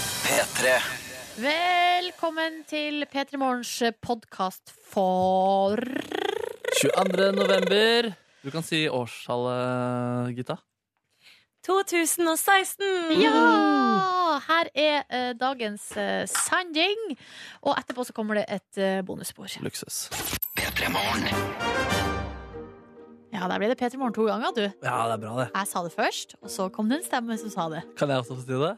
P3. Velkommen til P3 Morgens podkast for 22. november. Du kan si årstallet, Gitta. 2016! Ja! Her er eh, dagens eh, sending. Og etterpå så kommer det et uh, bonusspor. Luksus. Ja, der ble det P3 Morgen to ganger, du. Ja, det er bra, det. Jeg sa det først, og så kom det en stemme som sa det. Kan jeg også få si det?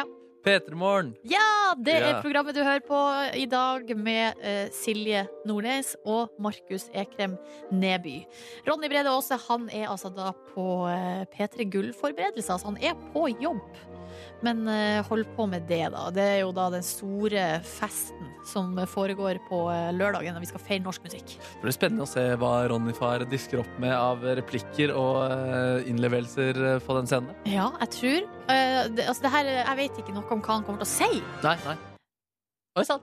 Ja. P3morgen. Ja, det er Ja. programmet du hører på i dag med eh, Silje Nordnes og Markus Ekrem Neby. Ronny Brede Aase han er altså da på eh, P3 Gull-forberedelser. Altså, han er på jobb, men eh, hold på med det, da. Det er jo da den store festen som foregår på eh, lørdagen når vi skal feire norsk musikk. Det blir spennende å se hva Ronny far disker opp med av replikker og eh, innlevelser eh, på den scenen. Ja, jeg tror eh, det, Altså, det her, jeg vet ikke noe om hva han kommer til å si. Nei, nei. Oi sann!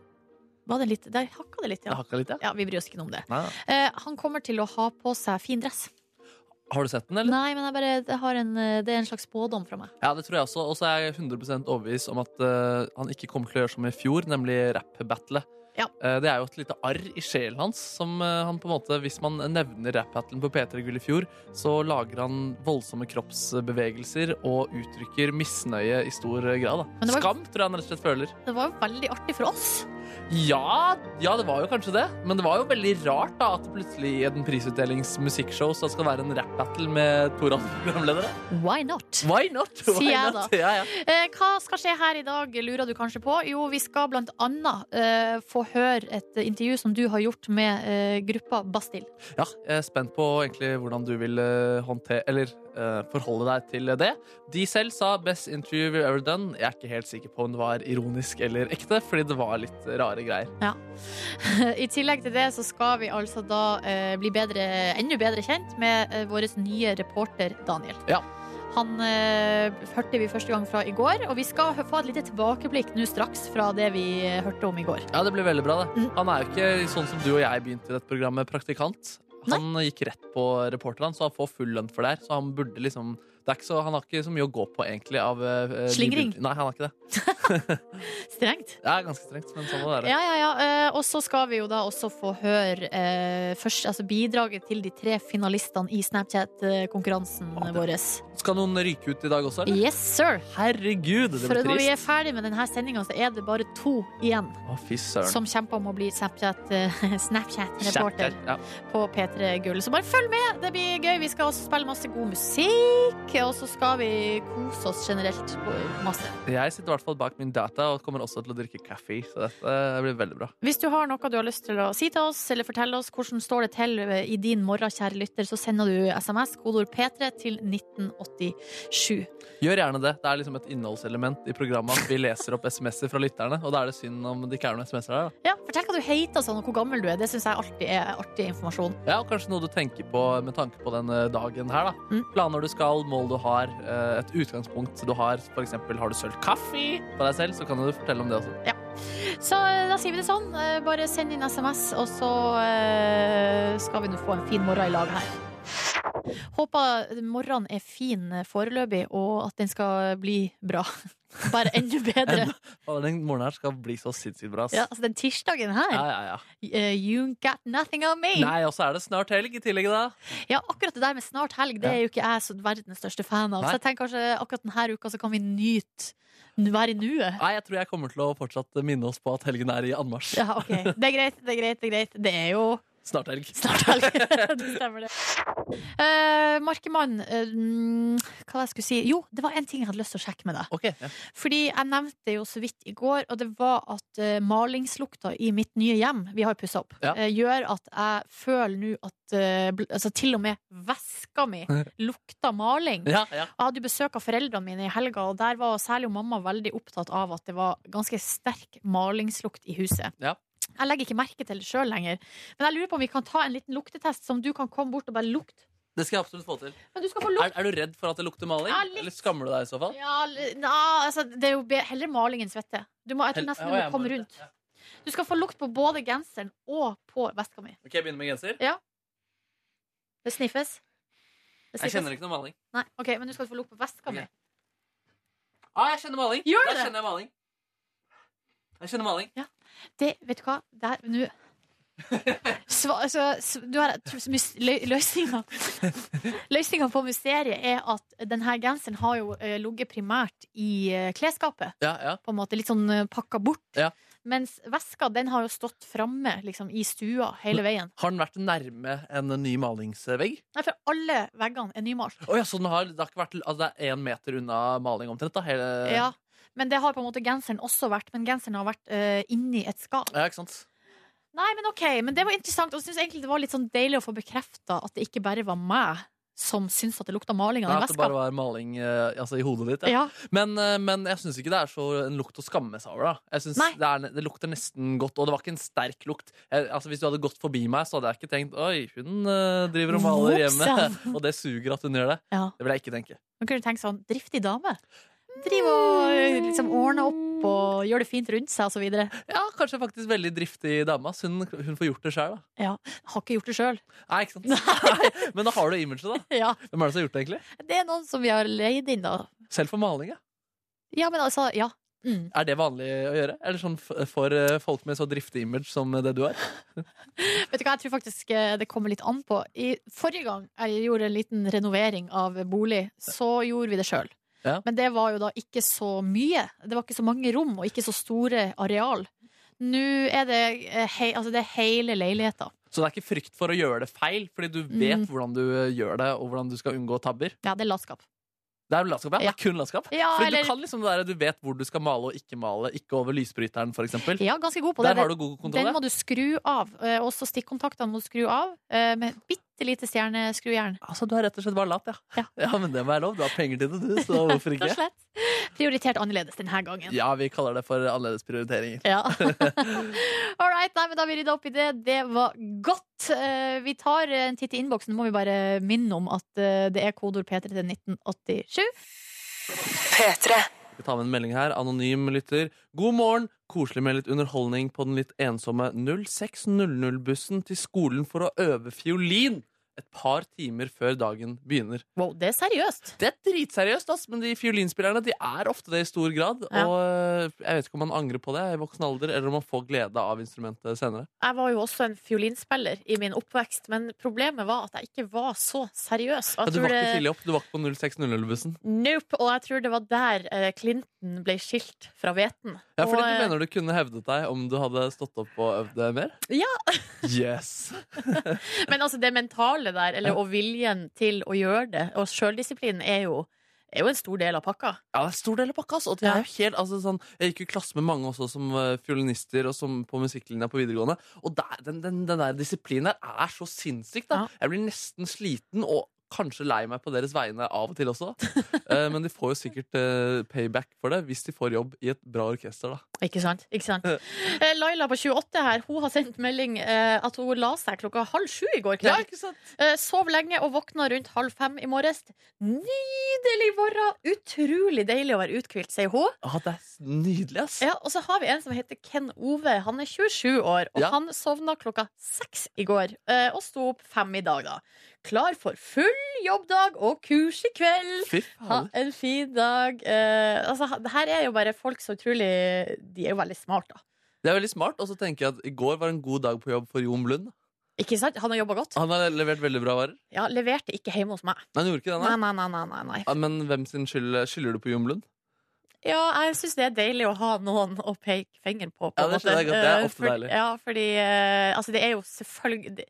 Var det litt, der hakka det litt, Det ja. hakka litt, ja. Ja, Vi bryr oss ikke noe om det. Nei, nei. Eh, han kommer til å ha på seg fin dress. Har du sett den, eller? Nei, men jeg bare, jeg har en, eh, det er en slags spådom fra meg. Ja, det tror jeg også. Og så er jeg 100 overbevist om at eh, han ikke kommer til å gjøre som i fjor, nemlig rap-battlet. Ja. Eh, det er jo et lite arr i sjelen hans som eh, han på en måte Hvis man nevner rap-battlen på P3 Gull i fjor, så lager han voldsomme kroppsbevegelser og uttrykker misnøye i stor grad. Men Da. det var- Skam tror jeg han rett og slett føler. Det var jo veldig artig for oss. Ja, ja, det var jo kanskje det. Men det var jo veldig rart da at det plutselig i en prisutdelingsmusikkshow så skal det være en rap-battle med to radioprogramledere. Why not? Why not? Why Sier jeg not? da. Ja, ja. Eh, hva skal skje her i dag, lurer du kanskje på? Jo, vi skal blant annet eh, få høre et intervju som du har gjort med eh, gruppa Bastille. ja, jeg er spent på egentlig hvordan du vil eh, håndte- eller eh, forholde deg til det. De selv sa 'best interview we've ever done'. Jeg er ikke helt sikker på om det var ironisk eller ekte, fordi det var litt rare greier. I tillegg til det så skal vi altså da eh, bli bedre, enda bedre kjent med eh, vår nye reporter Daniel. Ja. Han eh, hørte vi første gang fra i går, og vi skal hø- få et lite tilbakeblikk nå straks fra det vi eh, hørte om i går. Ja, det blir veldig bra, det. Mm. Han er jo ikke sånn som du og jeg begynte i dette programmet, praktikant. Han gikk rett på reporteren, så han får full lønn for det her. Så han burde liksom det er ikke så, Han har ikke så mye å gå på, egentlig. Av, eh, de Slingring. bud- Nei, han har ikke det. Strengt. Det er ganske strengt, men sånn må det være. Ja, ja, ja. Eh, Og så skal vi jo da også få høre eh, først, altså bidraget til de tre finalistene i Snapchat-konkurransen Å, det- vår. Skal noen ryke ut i dag også? eller? Yes, sir! Herregud, det For blir når vi trist. er ferdig med denne sendinga, så er det bare to igjen Å, fy søren. som kjemper om å bli Snapchat- eh, Snapchat-reporter Kjært, Ja. på P3 Gull. Så bare følg med, det blir gøy. Vi skal også spille masse god musikk, og så skal vi kose oss generelt på- masse. Jeg sitter i hvert fall bak min data og kommer også til å drikke kaffe, så dette blir veldig bra. Hvis du har noe du har lyst til å si til oss, eller fortelle oss hvordan står det til eh, i din morgen, kjære lytter, så sender du SMS, kodeord P3, til 1987. Gjør gjerne det. Det er liksom et innholdselement i programmet at vi leser opp SMS-er fra lytterne, og da er det synd om det ikke er noen SMS-er der. da. Ja, fortell hva du heter og sånn, og hvor gammel du er. Det syns jeg alltid er artig informasjon. Ja, og kanskje noe du tenker på med tanke på den eh, dagen her, da. Mm. Planer du skal, mål du har, eh, et utgangspunkt du har. For eksempel, har du sølt kaffe på deg selv, så kan du fortelle om det også. Så eh, da sier vi det sånn. Eh, Bare send inn SMS, og så eh, skal vi nå få en fin morgen i lag her. Håper morgenen er fin eh, foreløpig, og at den skal bli bra. Bare enda bedre. Og den morgenen her skal bli så sinnssykt bra. ass. Ja, altså den tirsdagen her. ja, ja, ja. eh, You got nothing on me. Nei, og så er det snart helg i tillegg, da. Ja, akkurat det der med snart helg, det Ja. er jo ikke jeg så verdens største fan av. Nei. Så jeg tenker kanskje akkurat denne uka så kan vi nyte n- være i nuet. Nei, jeg tror jeg kommer til å fortsatt minne oss på at helgen er i anmarsj. Ja, ok. Det er greit, det er greit, det er greit. Det er jo Snart helg. snart helg. det stemmer, det. Eh, Markemann, eh, mm, hva var det jeg skulle si? Jo, det var en ting jeg hadde lyst til å sjekke med deg. Ok, ja. Fordi jeg nevnte jo så vidt i går, og det var at eh, malingslukta i mitt nye hjem, vi har pussa opp, Ja. eh, gjør at jeg føler nå at eh, bl- altså til og med veska mi lukter maling. ja, ja. Jeg hadde jo besøk av foreldrene mine i helga, og der var særlig mamma veldig opptatt av at det var ganske sterk malingslukt i huset. Ja. Jeg legger ikke merke til det sjøl lenger, men jeg lurer på om vi kan ta en liten luktetest som du kan komme bort og bare lukte. Det skal jeg absolutt få til. Men du skal få Er, lukte. er du redd for at det lukter maling? Ja, litt. Eller skammer du deg i så fall? Ja, l- na, altså, det er jo be heller maling enn svette. Du må, jeg tror Hel- nesten Å, du må jeg må komme det. rundt. Du skal få lukt på både genseren og på veska mi. Ok, jeg begynner med genser. Det sniffes. Det Jeg kjenner ikke noe maling. Nei, ok, Men du skal få lukt på veska Ok. mi. Ah, jeg kjenner maling. Gjør Der du det? kjenner jeg maling. Jeg kjenner maling. Det, vet du hva? Det her, nå Sva- altså, s- Du har jeg tror så mye s- lø- løsninga Løsninga på mysteriet er at denne genseren har jo eh, ligget primært i eh, klesskapet. Ja, ja. På en måte litt sånn eh, pakka bort. Ja. Mens veska den har jo stått framme liksom, i stua hele veien. Har den vært nærme en ny malingsvegg? Nei, for alle veggene er nymalt. Å ja, så den har, det, har ikke vært, altså det er én meter unna maling omtrent? da hele, Ja. Men det har på en måte genseren også vært. Men genseren har vært eh, inni et skap. Ja, ikke sant? Nei, men ok, men det var interessant. Og jeg synes egentlig det var litt sånn deilig å få bekrefta at det ikke bare var meg som syntes at det lukta maling av Nei, den at det bare veska. var maling eh, altså, i hodet ditt. Ja. Ja. Men, eh, men jeg syns ikke det er så en lukt å skamme seg over. da jeg synes Nei. det, er, det lukter nesten godt, og det var ikke en sterk lukt. Jeg, altså, hvis du hadde gått forbi meg, så hadde jeg ikke tenkt Oi, hun eh, driver og maler hjemme, Voksen. og det suger at hun gjør det. Ja. Det vil jeg ikke tenke. Man kunne tenkt sånn, driftig dame. Driv og eh, liksom ordner opp og gjør det fint rundt seg og så videre. Ja, Kanskje faktisk veldig driftig dame. ass. Hun, hun får gjort det sjøl, da. Ja, har ikke gjort det sjøl. Nei, ikke sant? Nei. Men da har du imaget, da. Ja, Hvem er det som har gjort det, egentlig? det er noen som vi har leid inn, da. Selv for maling, ja. Ja, men altså, ja. Mm. Er det vanlig å gjøre? Eller sånn f- for eh, folk med så driftig image som eh, det du har? Vet du hva, jeg tror faktisk eh, det kommer litt an på. I forrige gang jeg gjorde en liten renovering av bolig, så gjorde vi det sjøl. Ja. Men det var jo da ikke så mye. Det var ikke så mange rom og ikke så store areal. Nå er det, eh, hei, altså det er hele leiligheta. Så det er ikke frykt for å gjøre det feil, fordi du vet Mm. hvordan du eh, gjør det, og hvordan du skal unngå tabber. Ja, det er latskap. Det er latskap, ja. Det Ja. er kun latskap. Ja, Fordi eller, du kan liksom det der, du vet hvor du skal male og ikke male, ikke over lysbryteren, for eksempel. ja ganske god på det. Der har du god kontroll. Den ja. må du skru av. eh, Også stikkontaktene må du skru av eh, med bitte lite stjerneskrujern. Altså, du har rett og slett bare lat, ja. Ja. men det må være lov. Du har penger til det, du, så hvorfor Rett og ikke? slett. Prioritert annerledes denne gangen. Ja, vi kaller det for annerledes prioriteringer. Ja. All right, nei, men da har vi rydda opp i det. Det var godt. Eh, Vi tar en titt i innboksen. Nå må vi bare minne om at eh, det er kodeord P3 til 1987. Vi tar med en melding her. Anonym lytter. God morgen. Koselig med litt underholdning på den litt ensomme 0600-bussen til skolen for å øve fiolin et par timer før dagen begynner. Wow, det er seriøst. Det er dritseriøst, ass, men de fiolinspillerne de er ofte det i stor grad. Ja. Og øh, jeg vet ikke om man angrer på det i voksen alder, eller om man får glede av instrumentet senere. Jeg var jo også en fiolinspiller i min oppvekst, men problemet var at jeg ikke var så seriøs. Men du var ikke tidlig opp, du var ikke på 0600-bussen. Nope, og jeg tror det var der eh, Clinton ble skilt fra hveten. Ja, fordi Og, eh, du mener du kunne hevdet deg om du hadde stått opp og øvd deg mer? Ja. Yes. Men altså det mentale der, eller, og viljen til å gjøre det, og sjøldisiplinen, er jo er jo en stor del av pakka. Ja, det er stor del av pakka. ass, Og det er jo helt, altså, sånn, jeg gikk jo i klasse med mange også som eh, fiolinister og som på musikklinja på videregående. Og der, den, den, den der disiplinen der er så sinnssyk. Da. Ja. Jeg blir nesten sliten og kanskje lei meg på deres vegne av og til også. Eh, Men de får jo sikkert eh, payback for det hvis de får jobb i et bra orkester. Da. Ikke sant? Ikke sant? Eh, Laila på 28 her, hun har sendt melding eh, at hun la seg klokka halv sju i går kveld. ikke sant? Eh, sov lenge og våkna rundt halv fem i morges. Nydelig morgen! Utrolig deilig å være uthvilt, sier hun. Ah, det er s- nydelig, ass. Ja, og så har vi en som heter Ken Ove. Han er 27 år, og Ja. han sovna klokka seks i går. eh, Og sto opp fem i dag, da. Klar for full jobbdag og kurs i kveld. Fy Ha fader. en fin dag. Eh, altså, ha- det her er jo bare folk så utrolig De er jo veldig smarte, da. Det er veldig smart. Og så tenker jeg at i går var en god dag på jobb for Jon Blund. Ikke sant? Han har jobba godt. Han har levert veldig bra varer. Ja, Leverte ikke hjemme hos meg. Nei, han gjorde ikke det, Nei, nei. nei, nei. nei, nei, nei. Ah, Men hvem sin skyld eh, skylder du på Jon Blund? Ja, jeg syns det er deilig å ha noen å peke fingeren på. på Ja, en måte. det skjønner jeg godt. Det er Eh, ofte fordi- deilig. Ja, fordi eh, altså, det er jo selvfølgelig det,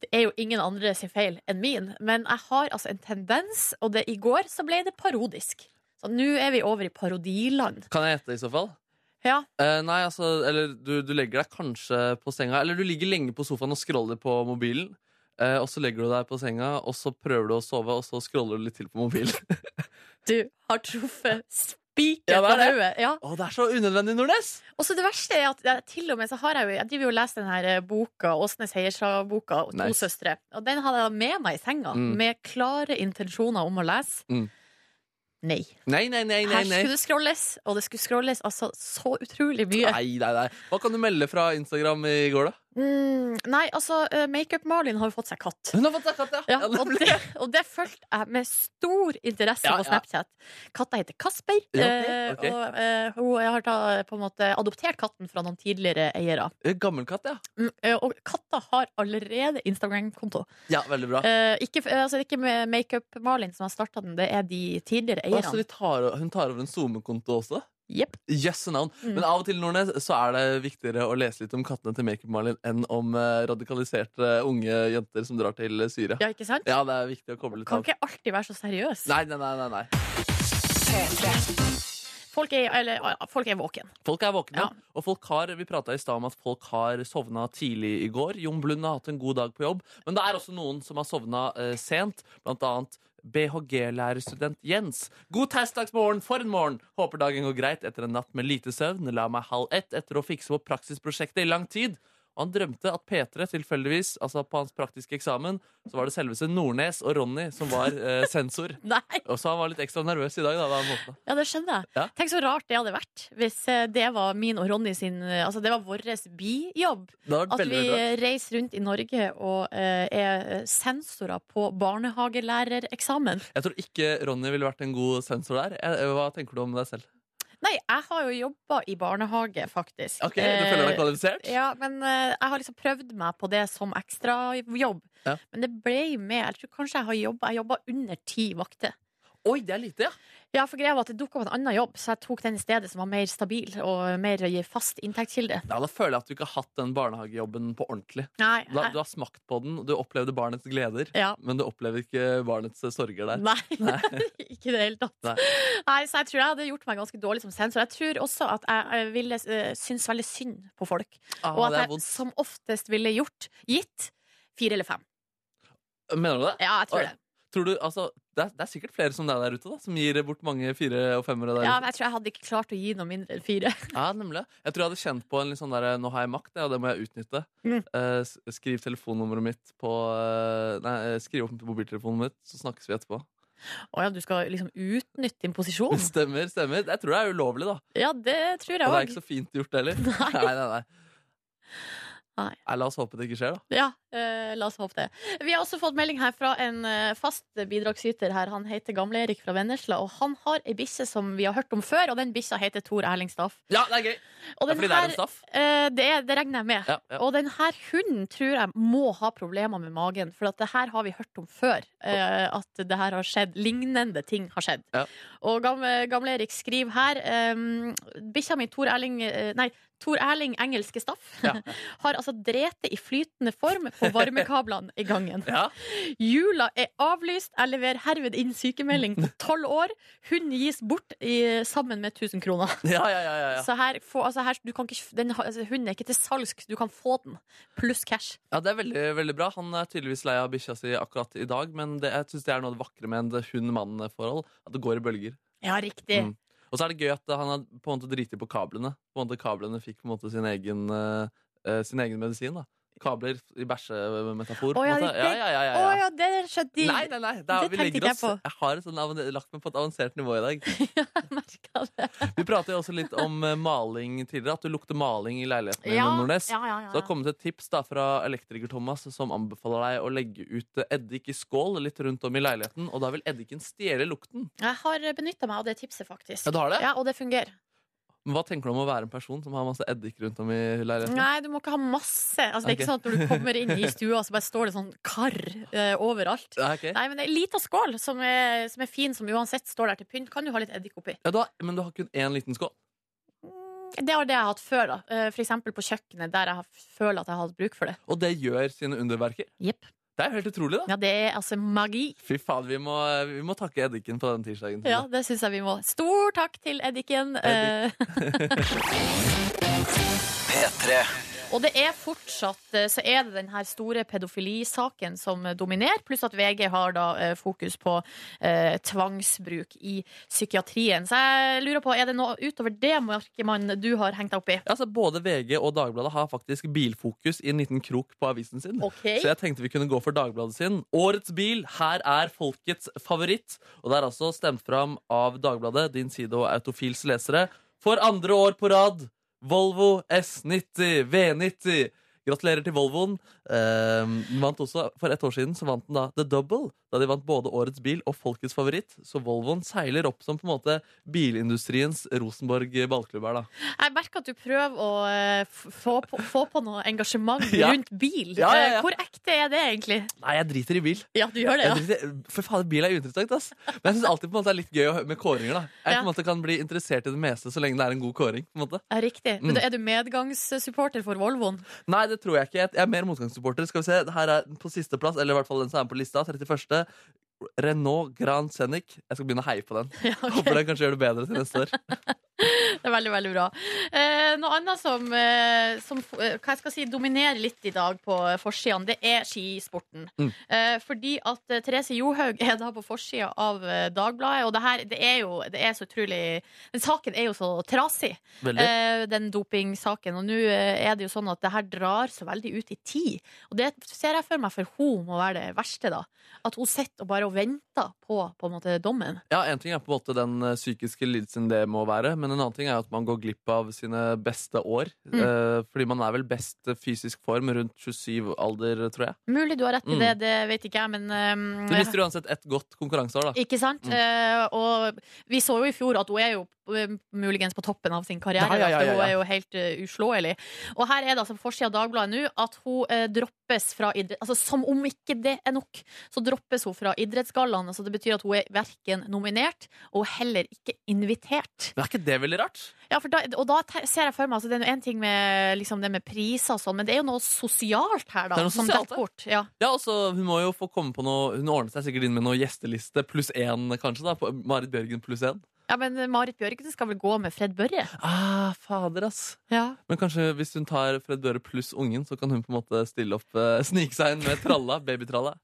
det er jo ingen andre sin feil enn min, men jeg har altså en tendens, og det, i går så ble det parodisk. Så nå er vi over i parodiland. Kan jeg gjette i så fall? Ja, Eh, nei, altså, eller du, du legger deg kanskje på senga Eller du ligger lenge på sofaen og scroller på mobilen eh, Og så legger du deg på senga Og så prøver du å sove Og så scroller du litt til på mobilen du har truffet Ja, spikeren det på er det. hodet. Ja. Å, det er så unødvendig, Nordnes Og så det verste er at jeg, til og med så har jeg jo Jeg driver jo og leser den her eh, boka, Åsnes Heierstad-boka, To Nice. søstre. Og den hadde jeg med meg i senga, Mm. med klare intensjoner om å lese. Mm. Nei. Nei, nei, nei, nei, Her nei skulle det scrolles, og det skulle scrolles altså så utrolig mye. Nei, nei, nei Hva kan du melde fra Instagram i går da? Mm, nei, altså, eh, Makeup-Malin har jo fått seg katt. Hun har fått seg katt, Ja, Ja, og nemlig. det, og det fulgte jeg med stor interesse på Ja, ja. Snapchat. Katta heter Kasper, Ja, eh, ok. og eh, hun jeg har da på en måte adoptert katten fra noen tidligere eiere. Gammel katt, ja. Mm, eh, og katta har allerede Instagram-konto. Ja, Veldig bra. Eh, ikke, eh, altså, det er ikke med Makeup-Malin som har starta den, det er de tidligere Å, så de eierne. Altså, tar, hun tar over en SoMe-konto også? Jepp. Yes and on. Mm. Men av og til Nordnes, så er det viktigere å lese litt om kattene til Makeup-Malin enn om eh, radikaliserte unge jenter som drar til eh, Syria. Ja, ikke sant? Ja, det er viktig å koble litt Kan av. ikke alltid være så seriøs. Nei, nei, nei, nei, nei. Folk er, eller, ja, folk er våken. Folk er våkne. Ja. Og folk har, vi prata i stad om at folk har sovna tidlig i går. Jon Blund har hatt en god dag på jobb. Men det er også noen som har sovna eh, sent. Blant annet BHG-lærerstudent Jens. God tirsdagsmorgen for en morgen! Håper dagen går greit etter en natt med lite søvn. La meg halv ett etter å fikse på praksisprosjektet i lang tid. Og han drømte at P3 tilfeldigvis, altså på hans praktiske eksamen, så var det selveste Nordnes og Ronny som var eh, sensor. Nei, Og så han var litt ekstra nervøs i dag da, da han våkna. ja, det skjønner jeg. Ja. Tenk så rart det hadde vært hvis eh, det var min og Ronny sin eh, Altså, det var vår bijobb. Det har vært At veldig, vi veldig bra. reiser rundt i Norge og eh, er sensorer på barnehagelærereksamen. Jeg tror ikke Ronny ville vært en god sensor der. Jeg- eh, Hva tenker du om deg selv? Nei, jeg har jo jobba i barnehage, faktisk. Ok, Du føler deg kvalifisert? Eh, ja, men eh, jeg har liksom prøvd meg på det som ekstrajobb. Ja. Men det ble med Jeg tror kanskje jeg har jobba Jeg jobba under ti vakter. Oi, det er lite, ja! Ja, for greia var at det dukka opp en annen jobb, så jeg tok den i stedet, som var mer stabil og mer fast inntektskilde. ja! Da føler jeg at du ikke har hatt den barnehagejobben på ordentlig. Nei, Da, jeg- du har smakt på den, du opplevde barnets gleder, ja. men du opplever ikke barnets eh, sorger der. Nei, ikke i det hele tatt. Nei. Nei. så jeg tror jeg hadde gjort meg ganske dårlig som sensor. Jeg tror også at jeg, jeg ville eh, synes veldig synd på folk. Ah, Og det at er jeg vondt. som oftest ville gjort gitt fire eller fem. Mener du det? Ja, jeg tror Oi. det. Tror du, altså, det, er, det er sikkert flere som deg der ute, da, som gir bort mange fire- og femmere der Ja, ute. men jeg tror jeg hadde ikke klart å gi noe mindre enn fire. Ja, nemlig. Jeg tror jeg hadde kjent på en litt sånn der, Nå har jeg makt, ja, og det må jeg utnytte. Mm. Eh, s- skriv telefonnummeret mitt på eh, Nei, eh, skriv opp mobiltelefonen mitt, så snakkes vi etterpå. Å ja, du skal liksom utnytte din posisjon? Stemmer, stemmer. Jeg tror det er ulovlig, da. Ja, det tror Og jeg det er òg. ikke så fint gjort heller. Nei. Nei, nei, nei. Nei. Nei, La oss håpe det ikke skjer, da. Ja, eh, la oss håpe det. Vi har også fått melding her fra en eh, fast bidragsyter her. Han heter Gamle-Erik fra Vennesla, og han har ei bikkje som vi har hørt om før, og den bikkja heter Tor Erling Staff. Ja, det er gøy! Og Ja, den fordi det er her, en staff. eh, det, er- det regner jeg med. Ja, ja. Og den her hunden tror jeg må ha problemer med magen, for at det her har vi hørt om før. eh, at det her har skjedd. Lignende ting har skjedd. Ja. Og gamle, gamle Erik skriver her um, Bikkja mi Tor Erling eh, Nei, Tor Erling Engelske Staff Ja. har altså drete i flytende form på varmekablene i gangen. Ja. Jula er avlyst. Jeg leverer herved inn sykemelding på tolv år. Hun gis bort i, sammen med 1000 kroner. Ja, ja, ja, ja, ja. Så her, få- altså her du kan ikke, den, har- altså, hunden er ikke til salgs. Du kan få den, pluss cash. ja, det er veldig veldig bra. Han er tydeligvis lei av bikkja si akkurat i dag, men det, jeg syns det er noe av det vakre med en hund-mann-forhold. At det går i bølger. Ja, riktig. Mm. Og så er det gøy at han har på en måte driti på kablene. På en måte Kablene fikk på en måte sin egen, eh, eh, sin egen medisin. da Kabler i bæsjemetafor. på Å, en ja, måte. riktig. ja, ja, ja, ja, Å ja. ja, det skjønte de. Nei, nei, nei. Det er, det vi tenkte legger ikke jeg oss på. Jeg har et sånn avan- lagt meg på et avansert nivå i dag. Jeg merket det. Vi pratet jo også litt om eh, maling tidligere, at du lukter maling i leiligheten din. Nordnes. ja, ja, ja. Så det har kommet et tips da fra elektriker-Thomas som anbefaler deg å legge ut eh, eddik i skål litt rundt om i leiligheten, og da vil eddiken stjele lukten. Jeg har benytta meg av det tipset, faktisk. Ja, du har det? Ja, og det fungerer. Men hva tenker du om å være en person som har masse eddik rundt om i leiligheten? Nei, du må ikke ha masse. Altså, det er Ok. ikke sånn at når du kommer inn i stua, så bare står det sånn kar eh, overalt. Ja, ok. Nei, men ei lita skål som er, som er fin, som uansett står der til pynt, kan du ha litt eddik oppi. Ja, du har, men du har kun én liten skål? Det var det jeg har hatt før, da. Eh, For eksempel på kjøkkenet, der jeg har- føler at jeg har hatt bruk for det. Og det gjør sine underverker? Jepp. Det er jo helt utrolig, da. Ja, det er altså magi. Fy faen, vi må, eh, vi må takke eddiken på den tirsdagen. Ja, det syns jeg vi må. Stor takk til eddiken. Eddik. Eh, eh. Og det er fortsatt eh, så er det den her store pedofilisaken som eh, dominerer, pluss at VG har da eh, fokus på eh, tvangsbruk i psykiatrien. Så jeg lurer på, er det noe utover det, Markemann, du har hengt deg opp i? Ja, så både VG og Dagbladet har faktisk bilfokus i en liten krok på avisen sin. OK. Så jeg tenkte vi kunne gå for Dagbladet sin. Årets bil, her er folkets favoritt. Og det er altså stemt fram av Dagbladet, din side og Autofils lesere. For andre år på rad, Volvo S90, V90. Gratulerer til Volvoen. Eh, den vant også, for ett år siden så vant den da The Double, da de vant både Årets bil og Folkets favoritt. Så Volvoen seiler opp som på en måte bilindustriens Rosenborg ballklubb her, da. Jeg merker at du prøver å eh, f- få på, få på noe engasjement Ja. rundt bil. Ja, ja, ja. Eh, Hvor ekte er det egentlig? Nei, jeg driter i bil. Ja, du gjør det, ja. Jeg driter, i- for faen, bil er uinteressant, ass. Men jeg syns alltid på en måte det er litt gøy å hø- med kåringer, da. Jeg Ja. på en måte kan bli interessert i det meste så lenge det er en god kåring. på en måte ja riktig. Men Mm. da er du medgangssupporter for Volvoen? Nei, det tror jeg ikke. Jeg er mer motgangssupporter. Skal vi se, Her er den på sisteplass, eller i hvert fall den som er på lista. 31. Renault Grand Scenic. Jeg skal begynne å heie på den. Ja, ok. Håper den kanskje gjør det bedre til neste år. Det er veldig, veldig bra. Eh, noe annet som, eh, som eh, hva jeg skal si, dominerer litt i dag på eh, forsidene, det er skisporten. Mm. Eh, fordi at eh, Therese Johaug er da på forsida av eh, Dagbladet, og det her det er jo det er så utrolig Den saken er jo så trasig, Veldig. eh, den dopingsaken. Og nå eh, er det jo sånn at det her drar så veldig ut i tid. Og det ser jeg for meg for hun må være det verste, da. At hun sitter og bare og venter på, på en måte, dommen. Ja, En ting er på en måte den eh, psykiske lidelsen det må være, men en annen ting er at man går glipp av sine beste år. Mm. Eh, fordi man er vel best eh, fysisk form rundt 27 alder, tror jeg. Mulig du har rett i Mm. det, det vet ikke jeg, men eh, Du mister uansett ett godt konkurranseår, da. Ikke sant? Mm. Eh, og vi så jo i fjor at hun er jo eh, muligens på toppen av sin karriere. Ja, ja, da, ja, for ja, Hun ja. er jo helt eh, uslåelig. Og her er det altså på forsida av Dagbladet nå at hun eh, droppes fra idrett... Altså som om ikke det er nok, så droppes hun fra idrettsgallaen. Altså, det betyr at hun er verken nominert og heller ikke invitert. Men er ikke det veldig rart? Ja, for da, og da te- ser jeg for meg altså, Det er én ting med liksom, det med priser og sånn, men det er jo noe sosialt her, da. Det er noe som sosialt, detter ja. bort. Ja. Ja, og så Hun må jo få komme på noe Hun ordner seg sikkert inn med noe gjesteliste pluss én, kanskje. da på Marit Bjørgen pluss én. ja, men Marit Bjørgen skal vel gå med Fred Børre? Ah, fader, ass. Ja. Men kanskje hvis hun tar Fred Børre pluss ungen, så kan hun på en måte stille opp eh, snike seg inn med tralla, babytralla.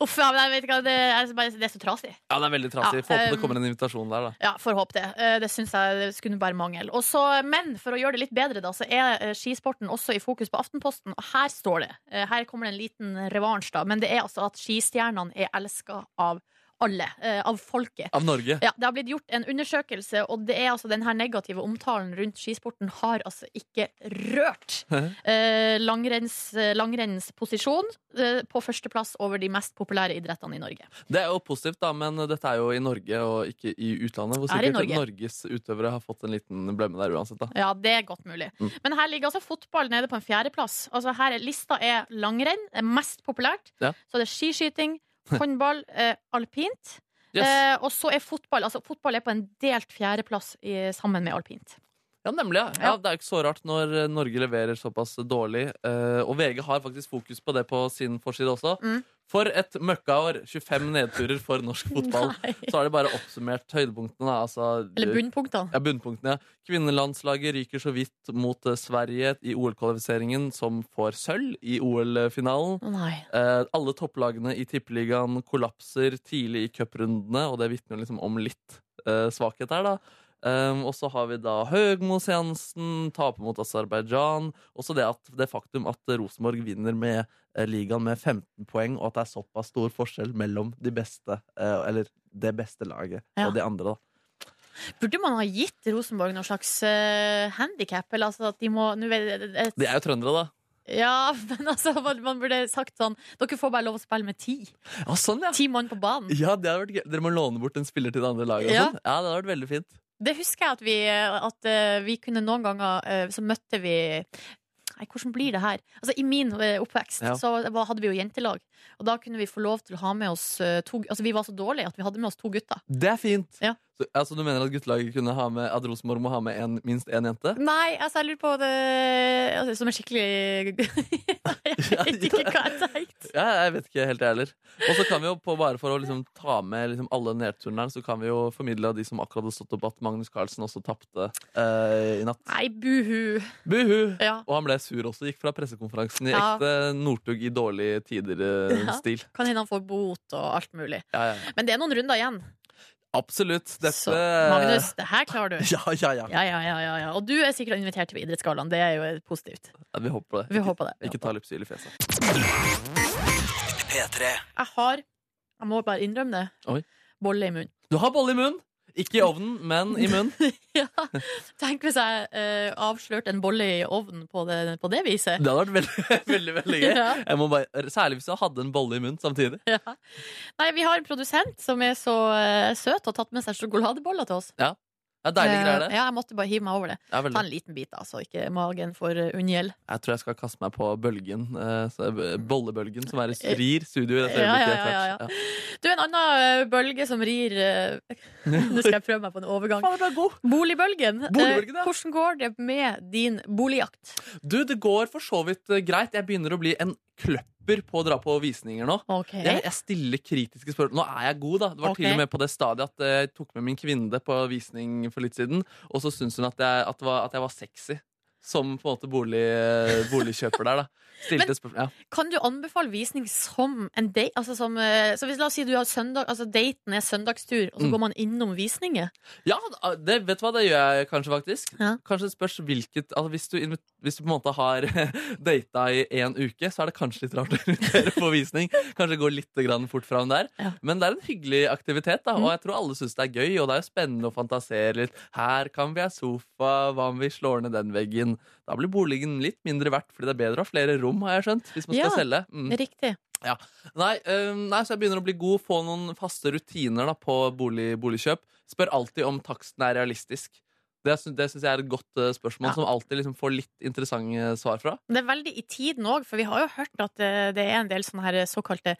Uff, ja, men jeg vet ikke, hva, det er, bare, det er så trasig. Ja, det er veldig trasig. Ja, Få håpe ehm. det kommer en invitasjon der, da. Ja, får håpe det. Eh, Det syns jeg det skulle bare mangel. Og så- men for å gjøre det litt bedre, da, så er eh, skisporten også i fokus på Aftenposten. Og her står det, eh, her kommer det en liten revansj, da, men det er altså at skistjernene er elska av alle. eh, Av folket. Av Norge. Ja, Det har blitt gjort en undersøkelse, og det er altså den her negative omtalen rundt skisporten har altså ikke rørt eh, langrenns, eh, langrennens posisjon eh, på førsteplass over de mest populære idrettene i Norge. Det er jo positivt, da, men dette er jo i Norge og ikke i utlandet. Hvor Er i sikkert Norge. Norges utøvere har fått en liten blemme der uansett, da. Ja, det er godt mulig. Mm. Men her ligger altså fotball nede på en fjerdeplass. Altså her er, lista er langrenn, det er mest populært. Ja. Så det er skiskyting, håndball, eh, alpint. Yes. Eh, og så er fotball altså fotball er på en delt fjerdeplass i- sammen med alpint. Ja, nemlig. Ja. ja, Det er jo ikke så rart når eh, Norge leverer såpass dårlig. eh, Og VG har faktisk fokus på det på sin forside også. Mm. For et møkkaår! 25 nedturer for norsk fotball. Nei. Så har de bare oppsummert høydepunktene. da, Altså, Eller bunnpunktene. Ja, bunnpunktene. Kvinnelandslaget ryker så vidt mot eh, Sverige i OL-kvalifiseringen, som får sølv i OL-finalen. Å nei. Eh, alle topplagene i tippeligaen kollapser tidlig i cuprundene, og det vitner jo liksom om litt eh, svakhet her, da. Ehm, og så har vi da Høgmo-seansen, taper mot Aserbajdsjan. Også det, at, det faktum at Rosenborg vinner med eh, ligaen med 15 poeng, og at det er såpass stor forskjell mellom de beste, eh, eller det beste laget, Ja. og de andre, da. Burde man ha gitt Rosenborg noe slags uh, handikap? Eller altså at de må nå vet jeg- et, De er jo trøndere, da. Ja, men altså man, man burde sagt sånn Dere får bare lov å spille med ti. Ja, sånn, ja. Ti mann på banen. Ja, det hadde vært gøy. Dere må låne bort en spiller til det andre laget. og Ja. sånn. ja, det hadde vært veldig fint. Det husker jeg at vi, at eh, vi kunne noen ganger eh, Så møtte vi Nei, hvordan blir det her? Altså, I min eh, oppvekst Ja. så var- hadde vi jo jentelag. Og da kunne vi få lov til å ha med oss eh, to Altså, vi var så dårlige at vi hadde med oss to gutter. Det er fint. Ja. Så, altså, du mener at guttelaget kunne ha med at Rosenborg må ha med en, minst én jente? Nei, altså, jeg lurer på det altså, Som er skikkelig Jeg vet ikke hva jeg tenkte. Ja, jeg vet ikke helt, jeg heller. Og så kan vi jo, på, bare for å liksom, ta med liksom, alle nedturene her, så kan vi jo formidle av de som akkurat hadde stått opp, at Magnus Carlsen også tapte eh, i natt. Nei, buhu. Buhu! Ja. Og han ble sur også. Gikk fra pressekonferansen i Ja. ekte Northug i dårlige Ja. tider-stil. Kan hende han får bot og alt mulig. Ja. Ja, ja. Men det er noen runder igjen. Absolutt. Dette Så Magnus, det her klarer du. Ja, ja, ja. Ja, ja, ja, ja, ja. Og du er sikkert invitert til Idrettsgallaen. Det er jo positivt. ja vi håper på det. Vi håper det. Ikke ta lypsyl i fjeset. Jeg har, jeg må bare innrømme det, Oi. bolle i munnen. Du har bolle i munnen! Ikke i ovnen, men i munnen. ja. Tenk hvis jeg eh, avslørte en bolle i ovnen på det, på det viset. Det hadde vært veldig, veldig, veldig gøy. Ja, Jeg må bare, særlig hvis du hadde en bolle i munnen samtidig. ja. Nei, vi har en produsent som er så eh, søt og har tatt med seg sjokoladeboller til oss. Det er deilige Eh, greier, det. Ja, jeg måtte bare hive meg over det. Det er Ta veldig. en liten bit, da, så ikke magen får eh, unngjeld. Jeg tror jeg skal kaste meg på bølgen. eh, så- Bollebølgen som er i rir studio i dette Eh, Ja, ja, øyeblikket. ja, ja, ja. etter hvert. Du, en annen eh, bølge som rir eh, Nå skal jeg prøve meg på en overgang. Faen, det ble god. Boligbølgen. Eh, Boligbølgen, ja. Hvordan går det med din boligjakt? Du, det går for så vidt eh, greit. Jeg begynner å bli en kløpper på å dra på visninger nå. Ok. Jeg, jeg stiller kritiske spørsmål. Nå er jeg god, da. Det var Ok. til og med på det stadiet at eh, jeg tok med min kvinne på visning for litt siden, og så syntes hun at jeg, at, det var, at jeg var sexy. Som på en måte bolig, eh, boligkjøper der, da. Stilte spørsmål. Ja. Kan du anbefale visning som en date? Altså som, eh, så hvis la oss si du har søndag, altså daten er søndagstur, og så Mm. går man innom visninger. Ja, ah, det, vet du hva, det gjør jeg kanskje faktisk. Ja. Kanskje det spørs hvilket altså hvis, du invit- hvis du på en måte har data i én uke, så er det kanskje litt rart å invitere på visning. Kanskje gå litt grann fort fram der. Ja. Mm. Men det er en hyggelig aktivitet, da, og jeg tror alle syns det er gøy. Og det er jo spennende å fantasere litt. Her kan vi ha sofa, hva om vi slår ned den veggen? Da blir boligen litt mindre verdt, fordi det er bedre å ha flere rom, har jeg skjønt. Hvis man Ja. skal selge. Mm. Riktig. Nei, eh, nei, så jeg begynner å bli god, få noen faste rutiner da, på bolig, boligkjøp. Spør alltid om taksten er realistisk. Det, sy- det syns jeg er et godt eh, spørsmål, Ja. som alltid liksom, får litt interessante svar fra. Det er veldig i tiden òg, for vi har jo hørt at eh, det er en del sånne her såkalte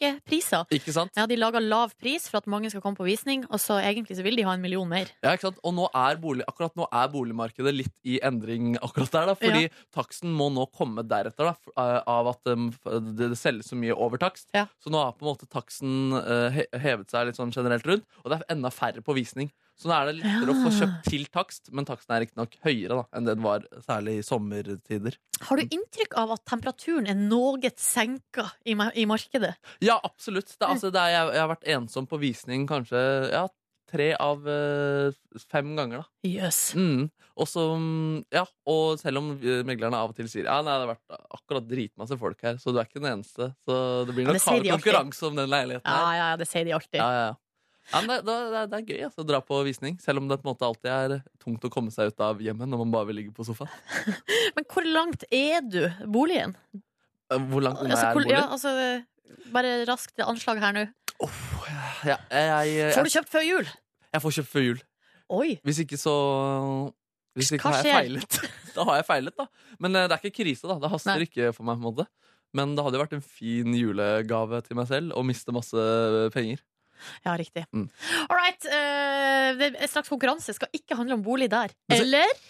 lokkepriser. Ikke sant? Ja, De lager lav pris for at mange skal komme på visning, og så egentlig så vil de ha en million mer. Ja, ikke sant? Og nå er bolig, akkurat nå er boligmarkedet litt i endring akkurat der, da, fordi taksten må nå komme deretter da, f- eh, av at um, f- det det selges så mye over takst. Ja. Så nå har på en måte taksten eh, he- hevet seg litt sånn generelt rundt, og det er enda færre på visning. Så nå er det lettere å få Ja. kjøpt til takst, men taksten er riktignok høyere da, enn den var særlig i sommertider. Har du inntrykk av at temperaturen er noe senka i, ma- i markedet? Ja, absolutt. Det, er- altså, det er, jeg, jeg har vært ensom på visning kanskje ja, tre av eh, fem ganger da. Jøss. Mm. Og, så, mm, ja, og selv om eh, meglerne av og til sier Ja, nei, det har vært akkurat dritmasse folk her, så du er ikke den eneste. Så det blir Ja, det nok sier hard de alltid. konkurranse om den leiligheten. Ja, her. ja, ja, det sier de alltid. Ja, ja, ja. Ja, men det, det, det, det er gøy altså, å dra på visning, selv om det på en måte alltid er tungt å komme seg ut av hjemmet når man bare vil ligge på sofaen. Men hvor langt er du boligen? Eh, Hvor langt unna Altså, er hvor, boligen? ja, altså, bare raskt anslag her nå. Uff, ja, jeg, jeg, Får Eh, jeg, du kjøpt før jul? jeg får kjøpt før jul. Oi. Hvis ikke, så Hvis ikke Hva har jeg skjer? feilet. Da har jeg feilet, da. Men eh, det er ikke krise, da. Det haster Nei. ikke for meg. på en måte Men det hadde jo vært en fin julegave til meg selv å miste masse eh, penger. Ja, riktig. Mm. All right. eh, det er straks konkurranse skal ikke handle om bolig der. Men så- Eller?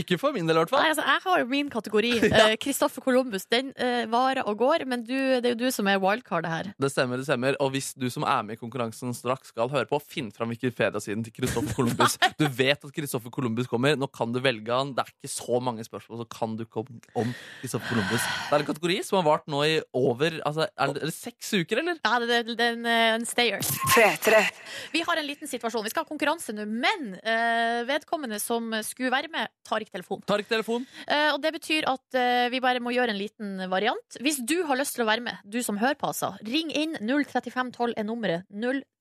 Ikke for min del, i hvert Nei, fall. altså, jeg har jo min kategori. Kristoffer Columbus. Den eh, varer og går, men du, det er jo du som er wildcardet her. Det stemmer, det stemmer. Og hvis du som er med i konkurransen straks skal høre på, finn fram Wikipedia-siden til Kristoffer Columbus. Du vet at Kristoffer Columbus kommer. Nå kan du velge han. Det er ikke så mange spørsmål, så kan du ikke om om Kristoffer Columbus. Det er en kategori som har vart nå i over altså, er det, er det seks uker, eller? Ja, det, det, det er en, eh, en stayer. Vi har en liten situasjon. Vi skal ha konkurranse nå, men eh, vedkommende som skulle være med, tar ikke telefonen. Tar ikke telefon. Eh, og det betyr at eh, vi bare må gjøre en liten variant. Hvis du har lyst til å være med, du som hører på, altså, ring inn 03512 er nummeret.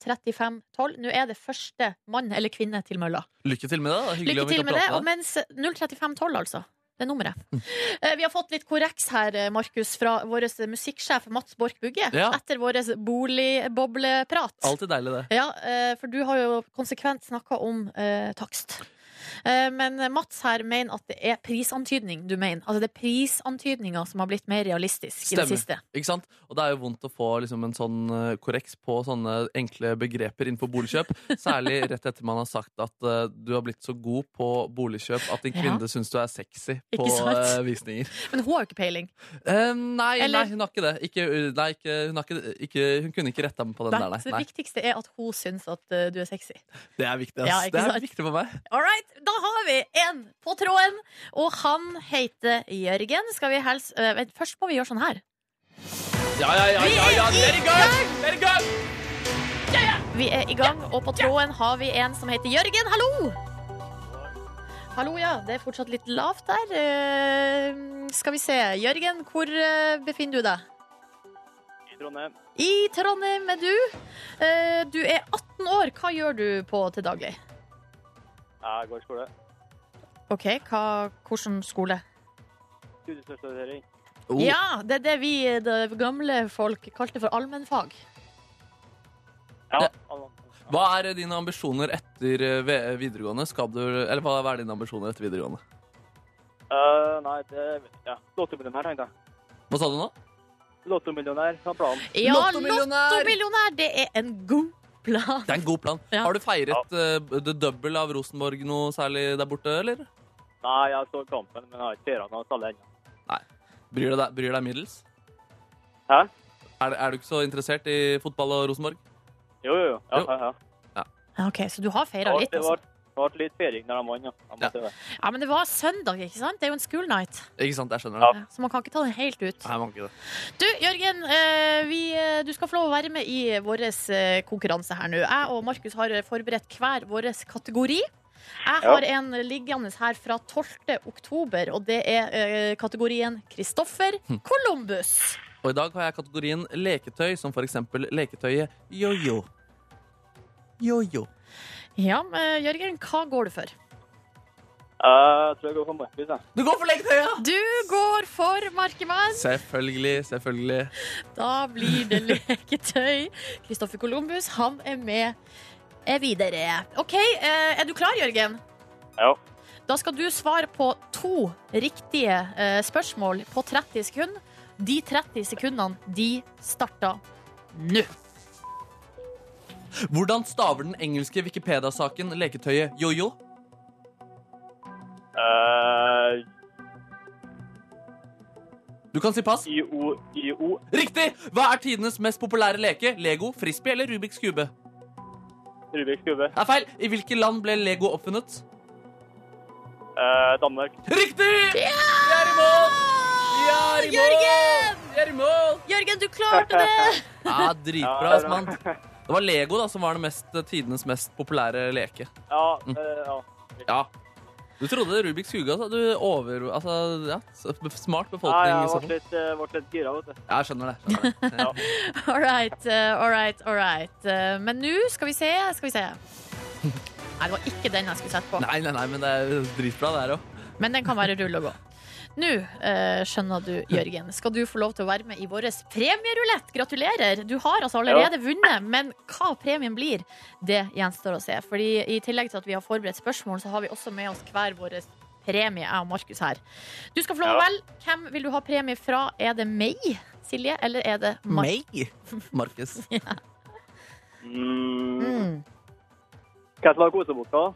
03512. Nå er det første mann eller kvinne til mølla. Lykke til med det. da. Hyggelig Lykke om vi til kan med det. prate Mm. Og med deg. mens 03512, altså. Det er nummeret. Eh, Vi har fått litt korreks her, eh, Markus, fra vår musikksjef Mats Borch Bugge. Ja. Etter vår boligbobleprat. Alltid deilig, det. Ja, eh, for du har jo konsekvent snakka om eh, takst. Eh, Men Mats her mener at det er prisantydning du mener. Altså det er prisantydninger som har blitt mer realistisk i Stemmer. det siste. Ikke sant? Og det er jo vondt å få liksom, en sånn eh, korreks på sånne enkle begreper innenfor boligkjøp. Særlig rett etter man har sagt at eh, du har blitt så god på boligkjøp at din Ja. kvinne syns du er sexy på Ikke sant? eh, visninger. Men hun har jo ikke peiling. Eh, nei, Eller- nei, hun har ikke det. Ikke, nei, ikke, hun, har ikke, ikke, hun kunne ikke retta meg på den Nei, der, Så det nei. viktigste er at hun syns at eh, du er sexy. nei. Det er viktig. ass. Ja, ikke det er sant? viktig for meg. All right, da har vi en på tråden, og han heter Jørgen. Skal vi helse... eh, vent, først må vi gjøre sånn her. Ja, ja, ja, ja, ja. Let it go! Let it go! Vi er i gang, og på tråden har vi en som heter Jørgen. Hallo! Hallo, ja. Det er fortsatt litt lavt der. Eh, skal vi se. Jørgen, hvor eh, befinner du deg? Trondheim. I Trondheim er du. Eh, Du er 18 år. Hva gjør du på til daglig? Jeg går i skole. OK, hva, hvordan skole? Studiespesialisering. Oh. Ja, det er det vi det gamle folk kalte for allmennfag. Ja. Ja. alle- Hva er dine ambisjoner etter eh, ve- videregående? Skal du, eller hva er dine ambisjoner etter videregående? Eh, nei, det vet jeg ikke. Lottomillionær, tenkte jeg. Hva sa du nå? Lottomillionær var planen. Ja, Lottomillionær! lottomillionær! Det er en god plan. Det er en god plan. Ja. Har du feiret eh, the double av Rosenborg noe særlig der borte, eller? Nei, jeg så kampen, men jeg har ikke sett han hans alle ennå. Bryr deg, bryr deg middels? Hæ? Er, er du ikke så interessert i fotball og Rosenborg? Jo, jo, jo. Ja, Jo. ja, ja. Ja, OK, så du har Det feira var- litt, det altså. var- det ble litt feiring når de vant, ja. Jeg må Ja. si det. Ja, men det var søndag, ikke sant? Det er jo en school night, Ikke sant, jeg skjønner Ja. det. Ja, så man kan ikke ta den helt ut. Nei, man kan ikke det. Du, Jørgen, eh, vi, eh, du skal få lov å være med i vår eh, konkurranse her nå. Jeg og Markus har forberedt hver vår kategori. Jeg Ja. har en liggende her fra 12. oktober, og det er eh, kategorien Kristoffer Hm. Columbus. Og i dag har jeg kategorien leketøy, som for eksempel leketøyet jojo. Jojo. Ja, eh, Jørgen, hva går du for? Eh, Jeg tror jeg går for Markus, jeg. Du går for leketøyet! Du går for Markemann. Selvfølgelig, selvfølgelig. Da blir det leketøy. Kristoffer Columbus, han er med eh, videre. OK, eh, er du klar, Jørgen? Ja. Da skal du svare på to riktige eh, spørsmål på 30 sekunder. De 30 sekundene, de starta nå. Hvordan staver den engelske Wikipedia-saken leketøyet jojo? Eh, Du kan si pass. IO, IO, Riktig! Hva er tidenes mest populære leke? Lego, frisbee eller Rubiks kube? Rubiks kube. Er feil. I hvilke land ble Lego oppfunnet? Eh, Danmark. Riktig! Vi er i mål! Vi er i mål! Jørgen! Vi er i mål! Jørgen, du klarte det! Ja, dritbra, Ja, ass, mann. Det var Lego da, som var den mest, tidenes mest populære leke. Ja, Mm. eh, ja. Ja. Du trodde Rubiks kube, altså. Du over... Altså, ja. s- Smart Nei, befolkning. i jeg så ble fall. litt, eh, ble litt gira, vet du. Ja, jeg skjønner det. Skjønner det. Ja. All right, eh, all right, all right. Eh, Men nå skal vi se, skal vi se. Nei, det var ikke den jeg skulle sette på. Nei, nei, nei, men det er dritbra, det her òg. Men den kan være rull og gå. Nå eh, skjønner du, Jørgen, skal du få lov til å være med i vår premierulett. Gratulerer! Du har altså allerede vunnet, men hva premien blir, det gjenstår å se. Fordi i tillegg til at vi har forberedt spørsmål, så har vi også med oss hver vår premie, jeg og Markus her. Du skal få lov å Ja. velge. Hvem vil du ha premie fra? Er det meg, Silje, eller er det Markus? Markus. Mm. Mm. Hva slags kosebukser?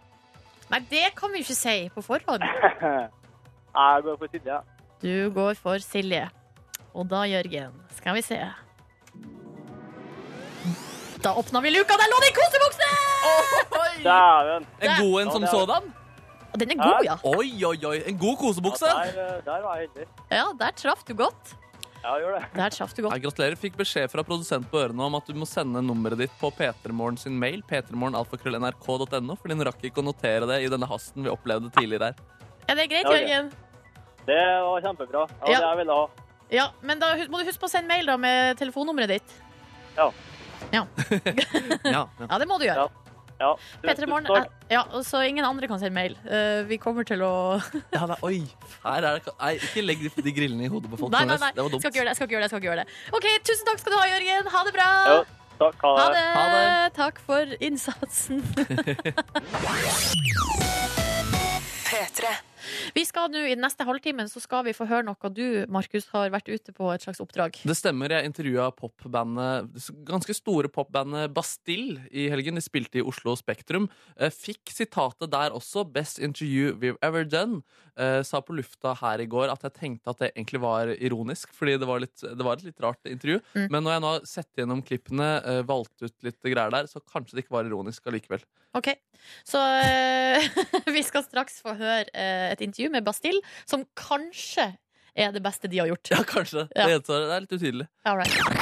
Nei, det kan vi jo ikke si på forhånd. Jeg går for Silje. Du går for Silje. Og da, Jørgen, skal vi se. Da åpna vi luka, der lå det en kosebukse! Dæven! En god en som Ja, det er- sådan? Og den er god, ja. Oi, oi, oi. En god kosebukse. Ja, der, eh, der var jeg heldig. Ja, Der traff du godt. Ja, jeg gjør det. Der traff du godt. Jeg gratulerer. Fikk beskjed fra produsent på ørene om at du må sende nummeret ditt på P3morgen sin mail, p3morgenalfakrøllnrk.no, fordi hun rakk ikke å notere det i denne hasten vi opplevde tidligere her. Er det greit, Ja, ok. Jørgen? Det var kjempebra. Ja, Ja. Det jeg ville ha. Ja, Men da hus- må du huske på å sende mail da med telefonnummeret ditt. Ja, ja. Ja, det må du gjøre. Ja. Ja, tusen Petre Morgen, takk. eh, ja, og så ingen andre kan sende mail. Eh, vi kommer til å ja det, oi. Her er det ka- Nei, ikke legg de- de grillene i hodet på folk. Nei, nei, Nordnes. nei. Det var Skal dumt. ikke gjøre det. skal ikke gjøre det, skal ikke gjøre det. OK, tusen takk skal du ha, Jørgen. Ha det bra. Ja, takk. Ha eh, Ha det. det. Ha det. Takk for innsatsen. Vi skal nå I den neste halvtimen så skal vi få høre noe du, Markus, har vært ute på et slags oppdrag. Det stemmer. Jeg intervjua popbandet, det ganske store popbandet Bastille i helgen. De spilte i Oslo Spektrum. Eh, Fikk sitatet der også. 'Best interview we've ever done'. Eh, Sa på lufta her i går at jeg tenkte at det egentlig var ironisk, fordi det var, litt, det var et litt rart intervju. Mm. Men når jeg nå har sett gjennom klippene, eh, valgt ut litt greier der, så kanskje det ikke var ironisk allikevel. Ok, Så eh, vi skal straks få høre eh, et intervju med Bastille, som kanskje er det beste de har gjort. Ja, kanskje. Ja. Det, gjenstår. det er litt utydelig. All right. Og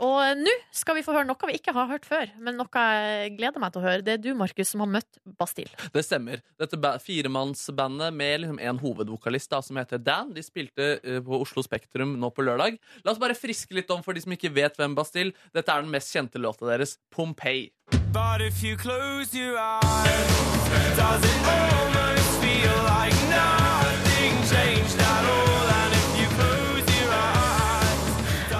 Og eh, nå skal vi få høre noe vi ikke har hørt før, men noe jeg gleder meg til å høre. Det er du, Markus, som har møtt Bastille. Det stemmer. Dette ba- firemannsbandet med liksom en hovedvokalist da, som heter Dan, de spilte eh, på Oslo Spektrum nå på lørdag. La oss bare friske litt om for de som ikke vet hvem Bastille. Dette er den mest kjente låta deres, Pompeii. But if you close your eyes, does it almost feel like nothing changed at all? And if you close your eyes,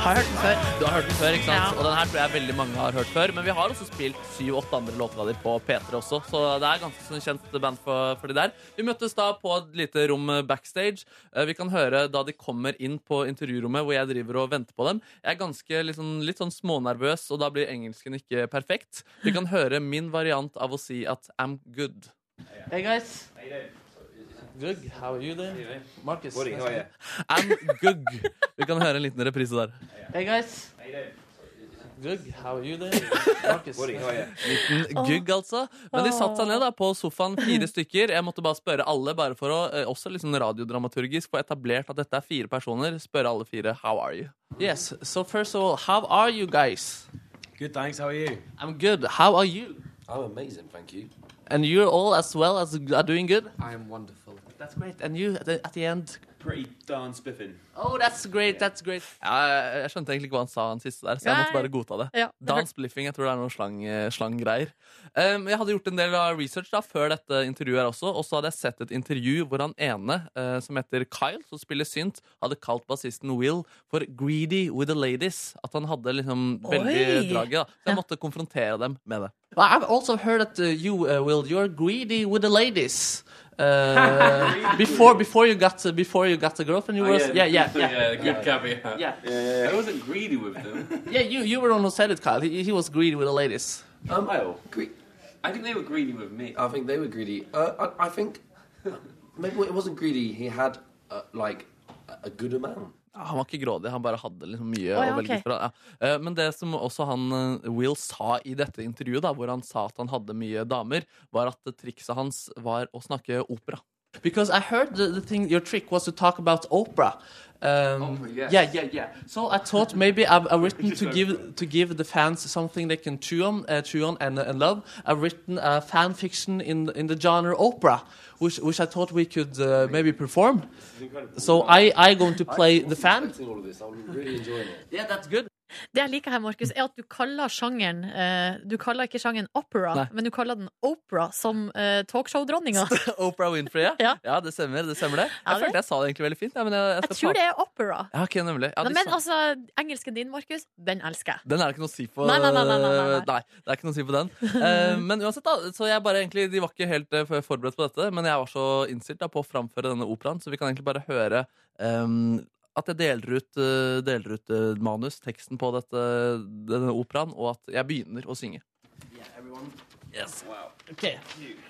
Har hørt den før. Du har hørt den før, ikke sant? Ja. Og den her tror jeg veldig mange har hørt før. Men vi har også spilt syv-åtte andre låter av dem på P3 også, så det er ganske sånn kjent band for, for de der. Vi møttes da på et lite rom backstage. Eh, Vi kan høre da de kommer inn på intervjurommet hvor jeg driver og venter på dem. Jeg er ganske liksom, litt sånn smånervøs, og da blir engelsken ikke perfekt. Vi kan høre min variant av å si at I'm good. Hey guys. Good. How are you doing? Marcus. I'm Gugg. Vi kan høre en liten reprise der. Hey guys. Gugg, how are you doing? Marcus. Liten gugg, altså. Men de satte seg ned da på sofaen, fire stykker. Jeg måtte bare spørre alle, bare for å eh, også litt sånn radiodramaturgisk få etablert at dette er fire personer. Spørre alle fire how are you? Yes, so first of all, how are you guys? Good, thanks. How are you? I'm good. How are you? I'm amazing, thank you. And you're all as well as are doing good? I am wonderful. That's great. And you at the, at the end? pretty darn spiffing. Oh, that's great, that's great. Ja, jeg, jeg skjønte egentlig ikke hva han sa han siste der, så jeg Nei. måtte bare godta det. Ja, det Dans, bliffing, jeg tror det er noen slang, eh, slanggreier. Em, jeg hadde gjort en del av research da, før dette intervjuet her også, og så hadde jeg sett et intervju hvor han ene, eh, som heter Kyle, som spiller synt, hadde kalt bassisten Will for greedy with the ladies. At han hadde liksom veldig Oi. draget. Da. Så jeg Ja. måtte konfrontere dem med det. Well, I've also heard that uh, you, uh, Will, you're greedy with the ladies. Uh, before, before you got uh, before you got a girlfriend, Oh, you were good caveat. Yeah. I wasn't greedy with them. Yeah, you, you were the one who said it, Kyle. He, he was greedy with the ladies. um, I think they were greedy with me. I think they were greedy. Uh, I, I think maybe it wasn't greedy. He had uh, like a- a good amount. Ja, Han var ikke grådig, han bare hadde liksom Å, mye ja, å velge ok. fra. Ja. Eh, Men det som også han eh, Will sa i dette intervjuet, da, hvor han sa at han hadde mye damer, var at trikset hans var å snakke opera. Because I heard the, the thing, your trick was to talk about opera. Um, Opera, yes. Yeah, yeah, yeah. So I thought maybe I've, I've written to give to give the fans something they can chew on, uh, chew on and, and love. I've written a fan fiction in in the genre opera, which which I thought we could uh, maybe perform. So I I going to play the fan. Expecting all of this, I'm really enjoying it. Yeah, that's good. Det jeg liker her, Markus, er at du kaller sjangeren eh, Du kaller ikke sjangeren opera, Nei. men du kaller den opera, som eh, talkshow-dronninga. Oprah Winfrey, ja. Ja. det stemmer. det stemmer det. Jeg Ja, det- følte jeg sa det egentlig veldig fint. Ja, men jeg, jeg Jeg skal tror ta- det er opera. Ja, ok, nemlig. Ja, Nei, de men sa- altså, engelsken din, Markus, den elsker jeg. Den er det ikke noe å si på. Nei, nei, nei, nei, nei, nei. det er ikke noe å si på den. Eh, men uansett, da. Så jeg bare egentlig, de var ikke helt eh, forberedt på dette, men jeg var så innstilt da, på å framføre denne operaen, så vi kan egentlig bare høre ehm, at jeg deler ut, eh, deler ut eh, manus, teksten på dette, denne operaen, og at jeg begynner å synge. Yes. Okay.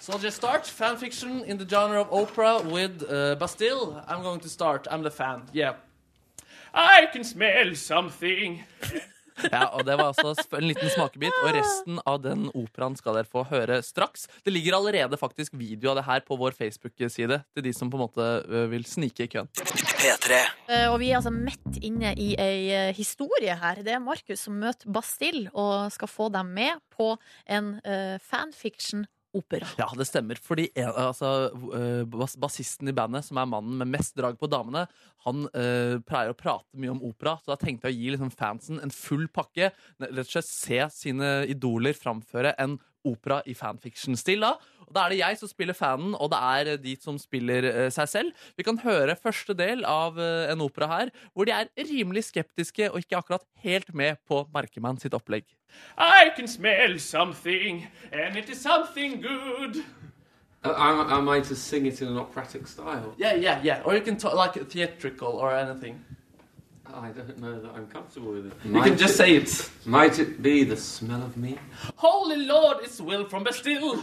So I'll just start fanfiction in the genre of opera with uh, Bastille. I'm going to start. I'm the fan. Yeah. I can smell something. Ja, og Det var altså sp- en liten smakebit, og resten av den operaen skal dere få høre straks. Det ligger allerede faktisk video av det her på vår Facebook-side til de som på en måte ø, vil snike i køen. Eh, og vi er altså midt inne i ei eh, historie her. Det er Markus som møter Bastille og skal få dem med på en eh, fanfiction-opera. Ja, det stemmer. Fordi en, altså, ø, bas bassisten i bandet, som er mannen med mest drag på damene, han ø, pleier å prate mye om opera, så da tenkte jeg å gi liksom, fansen en full pakke. Rett og slett se sine idoler framføre en opera i fanfiction-stil. da. Og Da er det jeg som spiller fanen, og det er eh, de som spiller eh, seg selv. Vi kan høre første del av eh, en opera her, hvor de er rimelig skeptiske og ikke akkurat helt med på Merkemann sitt opplegg. I can smell something, and it is something good. Uh, Am, am I to sing it in an operatic style? Yeah, yeah, yeah. Or you can talk like theatrical or anything. I don't know that I'm comfortable with it. You can just say it. Might it be the smell of me? Holy lord, it's Will from Bastille!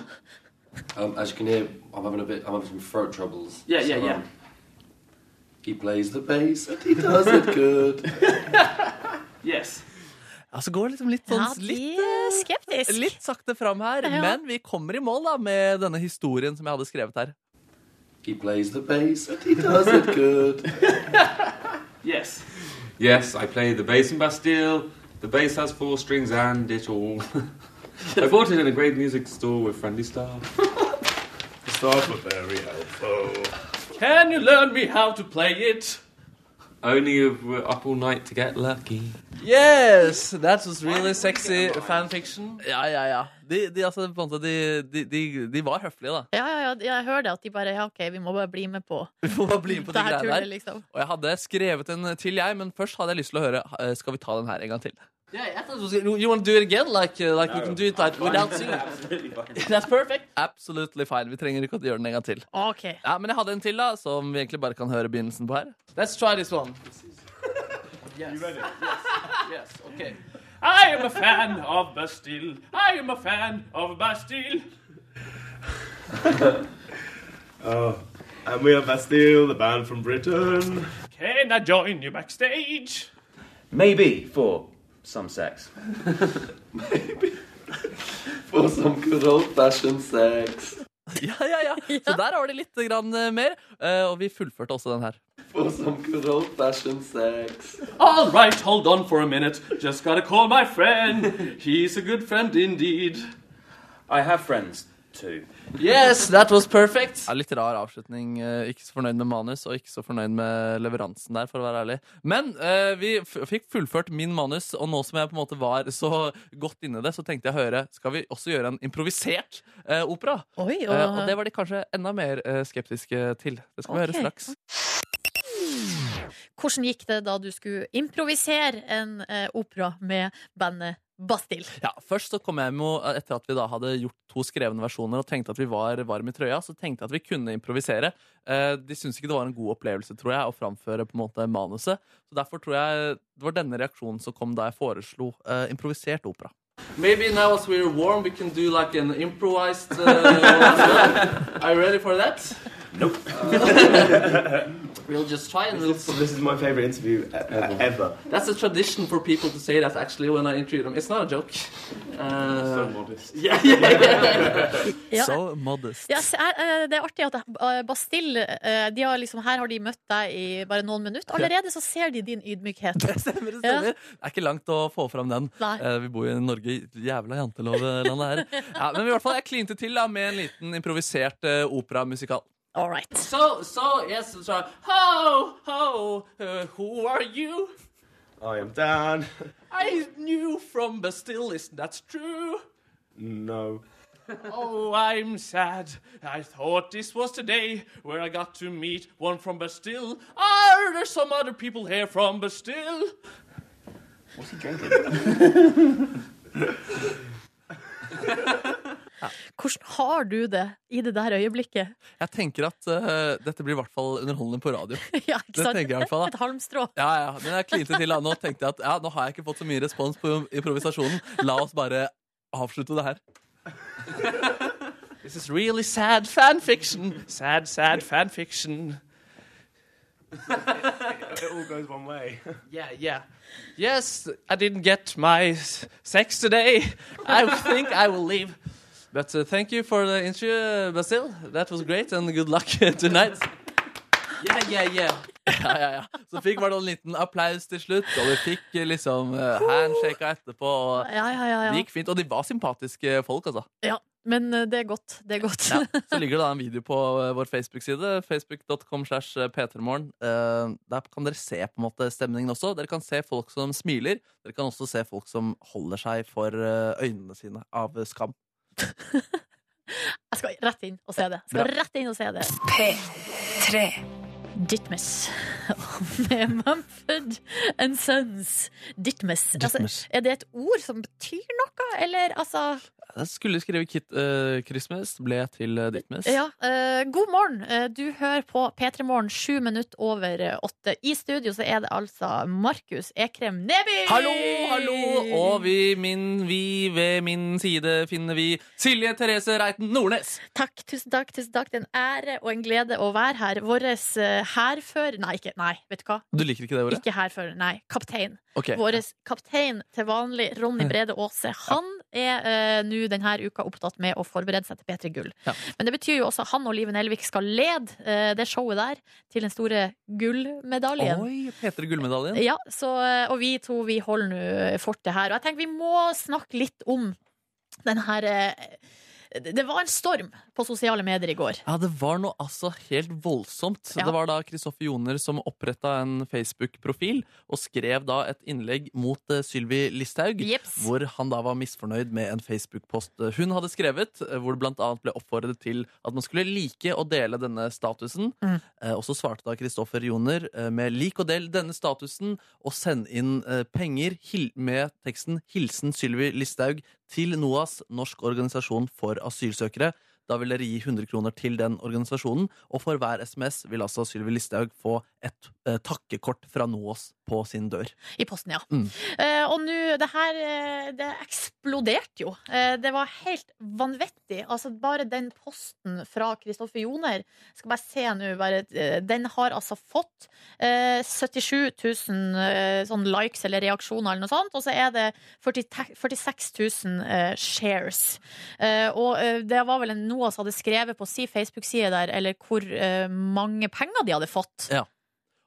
Um, as you can hear, I'm having a bit. I'm having some throat troubles. Yeah, yeah, so, yeah. um, he plays the bass and he does it good. Yes. Altså går det liksom litt sånn Ja, de litt, er eh, skeptisk. litt sakte fram her, Ja. men vi kommer i mål da med denne historien som jeg hadde skrevet her. He plays the bass and he does it good. Yes. Yes, I play the bass in Bastille. The bass has four strings and it all. I bought it in a great music store with friendly staff. The staff were very helpful. Can you learn me how to play it? Only if we're up all night to get lucky. Yes! That was really sexy fanfiction. Ja, ja, ja. De, de, altså, på en måte, de, de, de, de var høflige, da. Ja, ja, ja, jeg hører det at de bare Ja, OK, vi må bare bli med på Vi får bare bli med på de det her greiene tullet, der. liksom. Og jeg hadde skrevet en til, jeg, men først hadde jeg lyst til å høre eh, Skal vi ta den her en gang til. You want to do it again? Like, uh, like we can do it like, without singing. That's perfect. Absolutely fine. Vi trenger ikke å gjøre den en gang til. Ah, OK. Ja, Men jeg hadde en til, da, som vi egentlig bare kan høre begynnelsen på her. Let's try this one. Yes. Yes. Okay. I am a fan of Bastille. I am a fan of Bastille. Oh. And we are Bastille, the band from Britain. Can I join you backstage? Maybe for some sex. For some good old fashioned sex. Ja, ja, ja. Så der har de litt grann, eh, mer. Eh, og vi fullførte også den her. For some good old fashioned sex. All right, hold on for a minute. Just gotta call my friend. He's a good friend indeed. I have friends too. Yes, that was perfect. Ja, litt rar avslutning. eh, Ikke så fornøyd med manus, og ikke så fornøyd med leveransen der, for å være ærlig. Men eh, vi f fikk fullført min manus, og nå som jeg på en måte var så godt inni det, så tenkte jeg å høre Skal vi også gjøre en improvisert eh, opera? Oi, og, Eh, og det var de kanskje enda mer eh, skeptiske til. Det skal vi Ok. høre straks. Hvordan gikk det da du skulle improvisere en eh, opera med bandet Bastille? Ja, først så kom jeg med, Etter at vi da hadde gjort to skrevne versjoner og tenkte at vi var varme i trøya, så tenkte jeg at vi kunne improvisere. Eh, De syntes ikke det var en god opplevelse tror jeg, å framføre på en måte manuset. Så Derfor tror jeg det var denne reaksjonen som kom da jeg foreslo eh, improvisert opera. Maybe now as we're warm, we can do like an improvised. Uh, Are you ready for that? Nope. we'll just try and we'll. This is my favourite interview e- ever. That's a tradition for people to say that actually when I interview them. It's not a joke. So Uh, modest. yeah, yeah, yeah. Ja. So modest. Ja, se her, eh, det er artig at eh, Bastille eh, de har liksom, Her har de møtt deg i bare noen minutter. Allerede så ser de din ydmykhet. Det stemmer, det stemmer. Det er ikke langt å få fram den. Nei. Eh, Vi bor jo i Norge, jævla jantelovlandet her. Ja, men i hvert fall, jeg klinte til da med en liten improvisert eh, operamusikal. All right. So, so yes. So, ho, ho. Uh, who are you? I am Dan. I knew from Bastille. Isn't that true? No. Oh, I'm sad. I thought this was the day where I got to meet one from Bastille. Are there some other people here from Bastille? Hvordan har du det i det der øyeblikket? Jeg tenker at eh, dette blir i hvert fall underholdende på radio. ja, ikke Det sant? tenker jeg i hvert fall, da. Et halmstrå. Ja, ja, men jeg klinte til da. Nå tenkte jeg at ja, nå har jeg ikke fått så mye respons på improvisasjonen. La oss bare avslutte det her. This is really sad fan fiction. Sad, sad fan fiction. It all goes one way. Yeah, yeah. Yes, I didn't get my s- sex today. I think I will leave. But uh, thank you for the interview, uh, Bastille. That was great, and good luck tonight. Yeah, yeah, yeah. Ja, ja, ja. Så fikk bare en liten applaus til slutt, og vi fikk eh, liksom eh, handshaka etterpå. Og Ja, ja, ja, det ja. gikk fint, og de var sympatiske folk, altså. ja. Men eh, det er godt. Det er godt. Så ligger det da en video på eh, vår Facebook-side, facebook.com slash p3morgen. Eh, Der kan dere se på en måte stemningen også. Dere kan se folk som smiler. Dere kan også se folk som holder seg for eh, øynene sine av eh, skam. Jeg skal rett inn og se det. Jeg skal rett inn og se det. Ditmus. Med Mumford and Sons. Ditmus. Altså, Ditmus. er det et ord som betyr noe, eller altså Jeg skulle skrive kit, eh, Christmas, ble til uh, Ditmas. Ja. eh, god morgen. Eh, du hører på P3 Morgen sju minutter over eh, åtte. I studio så er det altså Markus Ekrem Neby! Hallo, hallo! Og vi, min, vi, ved min side finner vi Silje Therese Reiten Nordnes. Takk, tusen takk, tusen takk. Det er en ære og en glede å være her. Vår hærfører Nei, ikke, nei, vet du hva? Du liker ikke det ordet? Ikke hærfører, nei. Kaptein. Ok. Vår kaptein til vanlig, Ronny Brede Aase, han er eh, nå denne uka opptatt med å forberede seg til P3 Gull. Ja. Men det betyr jo også at han og Liven Elvik skal lede eh, det showet der til den store gullmedaljen. Oi, Peter Gullmedaljen. Ja, så, eh, og vi to vi holder nå fortet her. Og jeg tenker vi må snakke litt om den her eh, Det det var en storm på sosiale medier i går. Ja, det var noe altså helt voldsomt. Ja. Det var da Kristoffer Joner som oppretta en Facebook-profil og skrev da et innlegg mot eh, Sylvi Listhaug. Jeps. Hvor han da var misfornøyd med en Facebook-post eh, hun hadde skrevet, eh, hvor det blant annet ble oppfordret til at man skulle like og dele denne statusen. Mm. Eh, Og så svarte da Kristoffer Joner eh, med lik og del denne statusen, og send inn eh, penger hil- med teksten 'Hilsen Sylvi Listhaug' til NOAS, Norsk organisasjon for asylsøkere. Da vil dere gi 100 kroner til den organisasjonen, og for hver SMS vil altså Sylvi Listhaug få et eh, takkekort fra NOAS på sin dør. I posten, ja. Mm. Eh, og nå, det her eh, Det eksploderte jo. Eh, det var helt vanvittig. Altså, bare den posten fra Kristoffer Joner jeg Skal bare se nå, bare eh, Den har altså fått eh, 77 000 eh, sånn likes eller reaksjoner eller noe sånt, og så er det 40, te- 46 000 eh, shares. Eh, og eh, det var vel en NOAS hadde skrevet på si Facebook-side der, eller hvor eh, mange penger de hadde fått. Ja.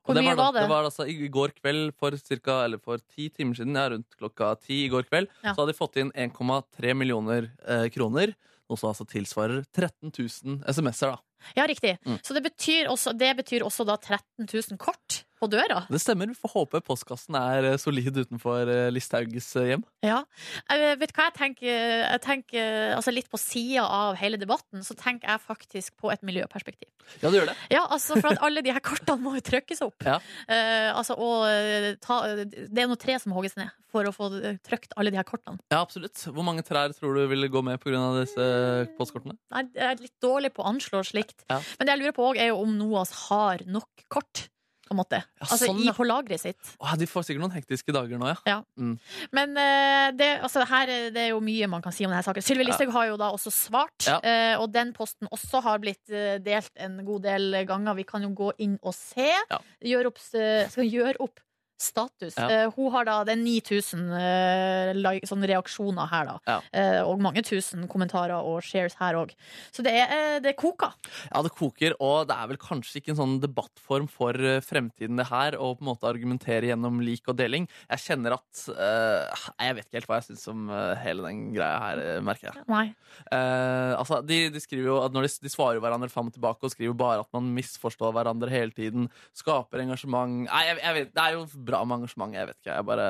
Hvor Og mye var, da- var det? Det var altså I går kveld for cirka, eller for ti timer siden, ja, rundt klokka ti i går kveld, Ja. så hadde de fått inn 1,3 millioner eh, kroner. Noe som altså tilsvarer 13 000 SMS-er, da. Ja, riktig. Mm. Så det betyr, også, det betyr også da 13 000 kort på døra. Det stemmer. Vi får håpe postkassen er eh, solid utenfor eh, Listhauges eh, hjem. Ja. Jeg Eh, vet hva jeg tenker? Jeg tenker altså litt på sida av hele debatten, så tenker jeg faktisk på et miljøperspektiv. Ja, det gjør det. Ja, altså For at alle de her kortene må jo trykkes opp. Ja. Eh, altså, og eh, ta, det er noe tre som hogges ned for å få eh, trykt alle de her kortene. Ja, absolutt. Hvor mange trær tror du ville gå med pga. disse postkortene? Nei, Jeg er litt dårlig på å anslå slikt. Ja. Men det jeg lurer på også er jo om NOAS har nok kort. På en måte. Ja, altså sånn, i, ja. på lageret sitt. Åh, de får sikkert noen hektiske dager nå, ja. Men eh, det, altså, her, er- det er jo mye man kan si om denne saken. Sylvi Listhaug har jo da også svart, Ja. eh, og den posten også har blitt eh, delt en god del ganger. Vi kan jo gå inn og se. Ja. Gjøre opp, s- skal gjøre opp status. Ja. Eh, hun har da det er 9000 eh, like, sånne reaksjoner her, da. Ja. Eh, og mange tusen kommentarer og shares her òg. Så det, er, eh, det koker. Ja, det koker, og det er vel kanskje ikke en sånn debattform for eh, fremtiden det her, å på en måte argumentere gjennom lik og deling. Jeg kjenner at eh, Jeg vet ikke helt hva jeg syns om eh, hele den greia her, eh, merker jeg. Nei. Eh, altså, de, de skriver jo at når de, de svarer hverandre fram og tilbake og skriver bare at man misforstår hverandre hele tiden, skaper engasjement Nei, jeg, jeg vet, det er jo bra med engasjement, jeg vet ikke, jeg bare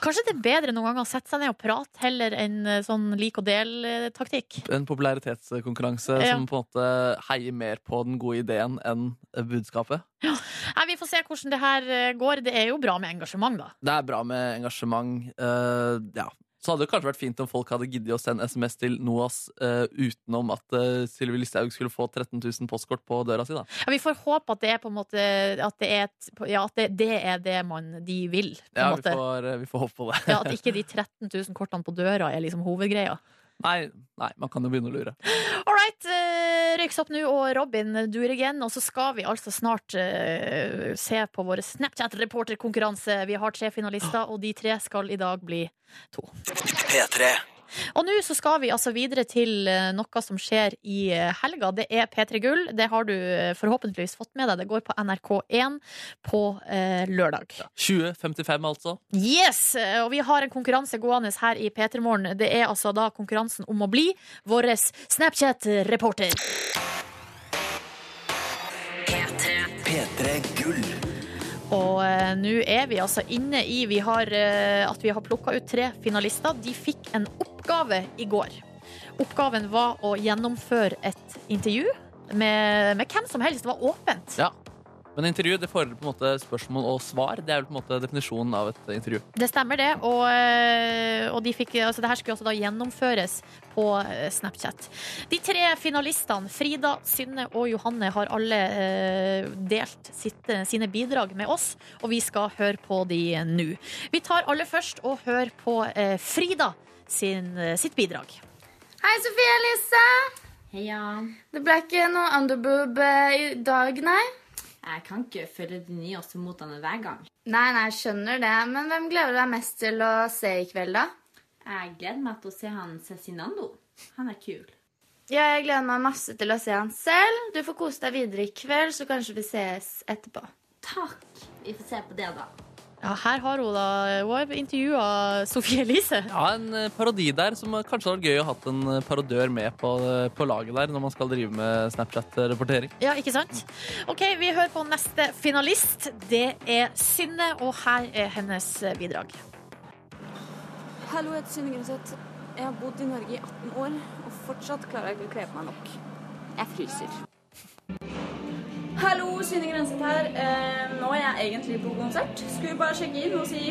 Kanskje det er bedre noen ganger å sette seg ned og prate heller enn eh, sånn lik og del-taktikk. en popularitetskonkurranse Ja. som på en måte heier mer på den gode ideen enn eh, budskapet. Nei, Vi får se hvordan det her eh, går. Det er jo bra med engasjement, da. Det er bra med engasjement. eh, ja. Så hadde det kanskje vært fint om folk hadde giddet å sende SMS til NOAS eh, utenom at uh, Sylvi Listhaug skulle få 13 000 postkort på døra si. da. Ja, vi får håpe at det er på en måte At det er, et, ja, at det, det, er det man de vil. På en Ja, vi måte. får, eh, vi får håpe på det. Ja, at ikke de 13 000 kortene på døra er liksom hovedgreia. Nei, nei, man kan jo begynne å lure. All right, eh, Røyksopp nå og Robin Duregen. Og så skal vi altså snart eh, se på vår Snapchat-reporterkonkurranse. Vi har tre finalister, og de tre skal i dag bli to. Og nå så skal vi altså videre til eh, noe som skjer i eh, helga. Det er P3 Gull. Det har du eh, forhåpentligvis fått med deg. Det går på NRK1 på eh, lørdag. 2055, altså. Yes! eh, Og vi har en konkurranse gående her i P3 Morgen. Det er altså da konkurransen om å bli vår Snapchat-reporter. Og eh, nå er vi altså inne i vi har, eh, at vi har plukka ut tre finalister. De fikk en oppgave i går. Oppgaven var å gjennomføre et intervju med, med hvem som helst. Det var åpent. Ja. Men intervju det fordrer på en måte spørsmål og svar. Det er vel på en måte definisjonen av et eh, intervju. Det stemmer, det. Og, eh, og de fikk, altså, det her skulle også da gjennomføres på eh, Snapchat. De tre finalistene, Frida, Synne og Johanne, har alle eh, delt sitt, eh, sine bidrag med oss, og vi skal høre på de nå. Vi tar alle først og hører på eh, Frida sin, eh, sitt bidrag. Hei, Sofie Elise. Heia. Det ble ikke noe underboob eh, i dag, nei? Jeg kan ikke følge de nye også mot henne hver gang. Nei, nei, skjønner det. Men hvem gleder du deg mest til å se i kveld, da? Jeg gleder meg til å se han Cezinando. Han er kul. Ja, jeg gleder meg masse til å se han selv. Du får kose deg videre i kveld, så kanskje vi ses etterpå. Takk. Vi får se på det, da. Ja, her har hun da Hun har intervjua Sofie Elise. Ja, en eh, parodi der som kanskje hadde vært gøy å hatt en eh, parodør med på, eh, på laget der når man skal drive med Snapchat-rapportering. Ja, ikke sant? OK, vi hører på neste finalist. Det er Synne, og her er hennes bidrag. Hallo, jeg heter Synne Grønseth. Jeg har bodd i Norge i 18 år, og fortsatt klarer jeg ikke å kle på meg nok. Jeg fryser. Hallo, Synne Grønseth her. Eh, nå er jeg egentlig på konsert. Skulle bare sjekke inn og si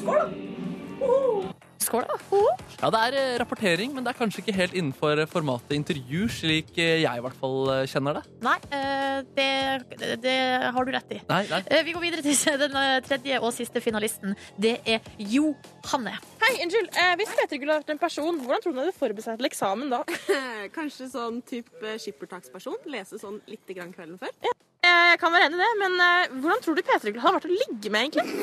skål, da. Woho! Skål, da. Ja, det er eh, rapportering, men det er kanskje ikke helt innenfor eh, formatet intervju, slik eh, jeg i hvert fall eh, kjenner det. Nei, eh, det, det- det har du rett i. Nei, nei. Eh, Vi går videre til den eh, tredje og siste finalisten. Det er Johanne. Hei, unnskyld. Eh, hvis Peter Gull hadde vært en person, hvordan tror du han hadde forberedt seg til eksamen da? Kanskje sånn type skippertaksperson. Lese sånn lite grann kvelden før. Ja. Eh, jeg kan være enig i det, men eh, hvordan tror du Peter Gull hadde vært å ligge med, egentlig?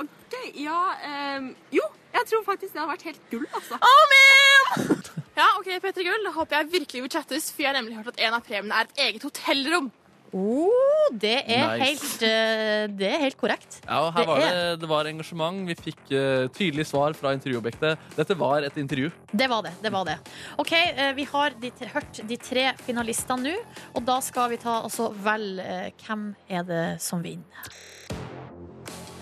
OK, ja ehm, Jo, jeg tror faktisk det hadde vært helt gull, altså. Amen! ja, OK, Peter Gull, da håper jeg virkelig vi chattes, for jeg har nemlig hørt at en av premiene er et eget hotellrom. Oh, det er Nice. helt eh, Det er helt korrekt. Ja, og her Det var det, er- det var engasjement. Vi fikk eh, tydelig svar fra intervjuobjektet. Dette var et intervju. Det var det. det var det. OK, eh, vi har de, tre- hørt de tre finalistene nå, og da skal vi ta altså vel eh, Hvem er det som vinner?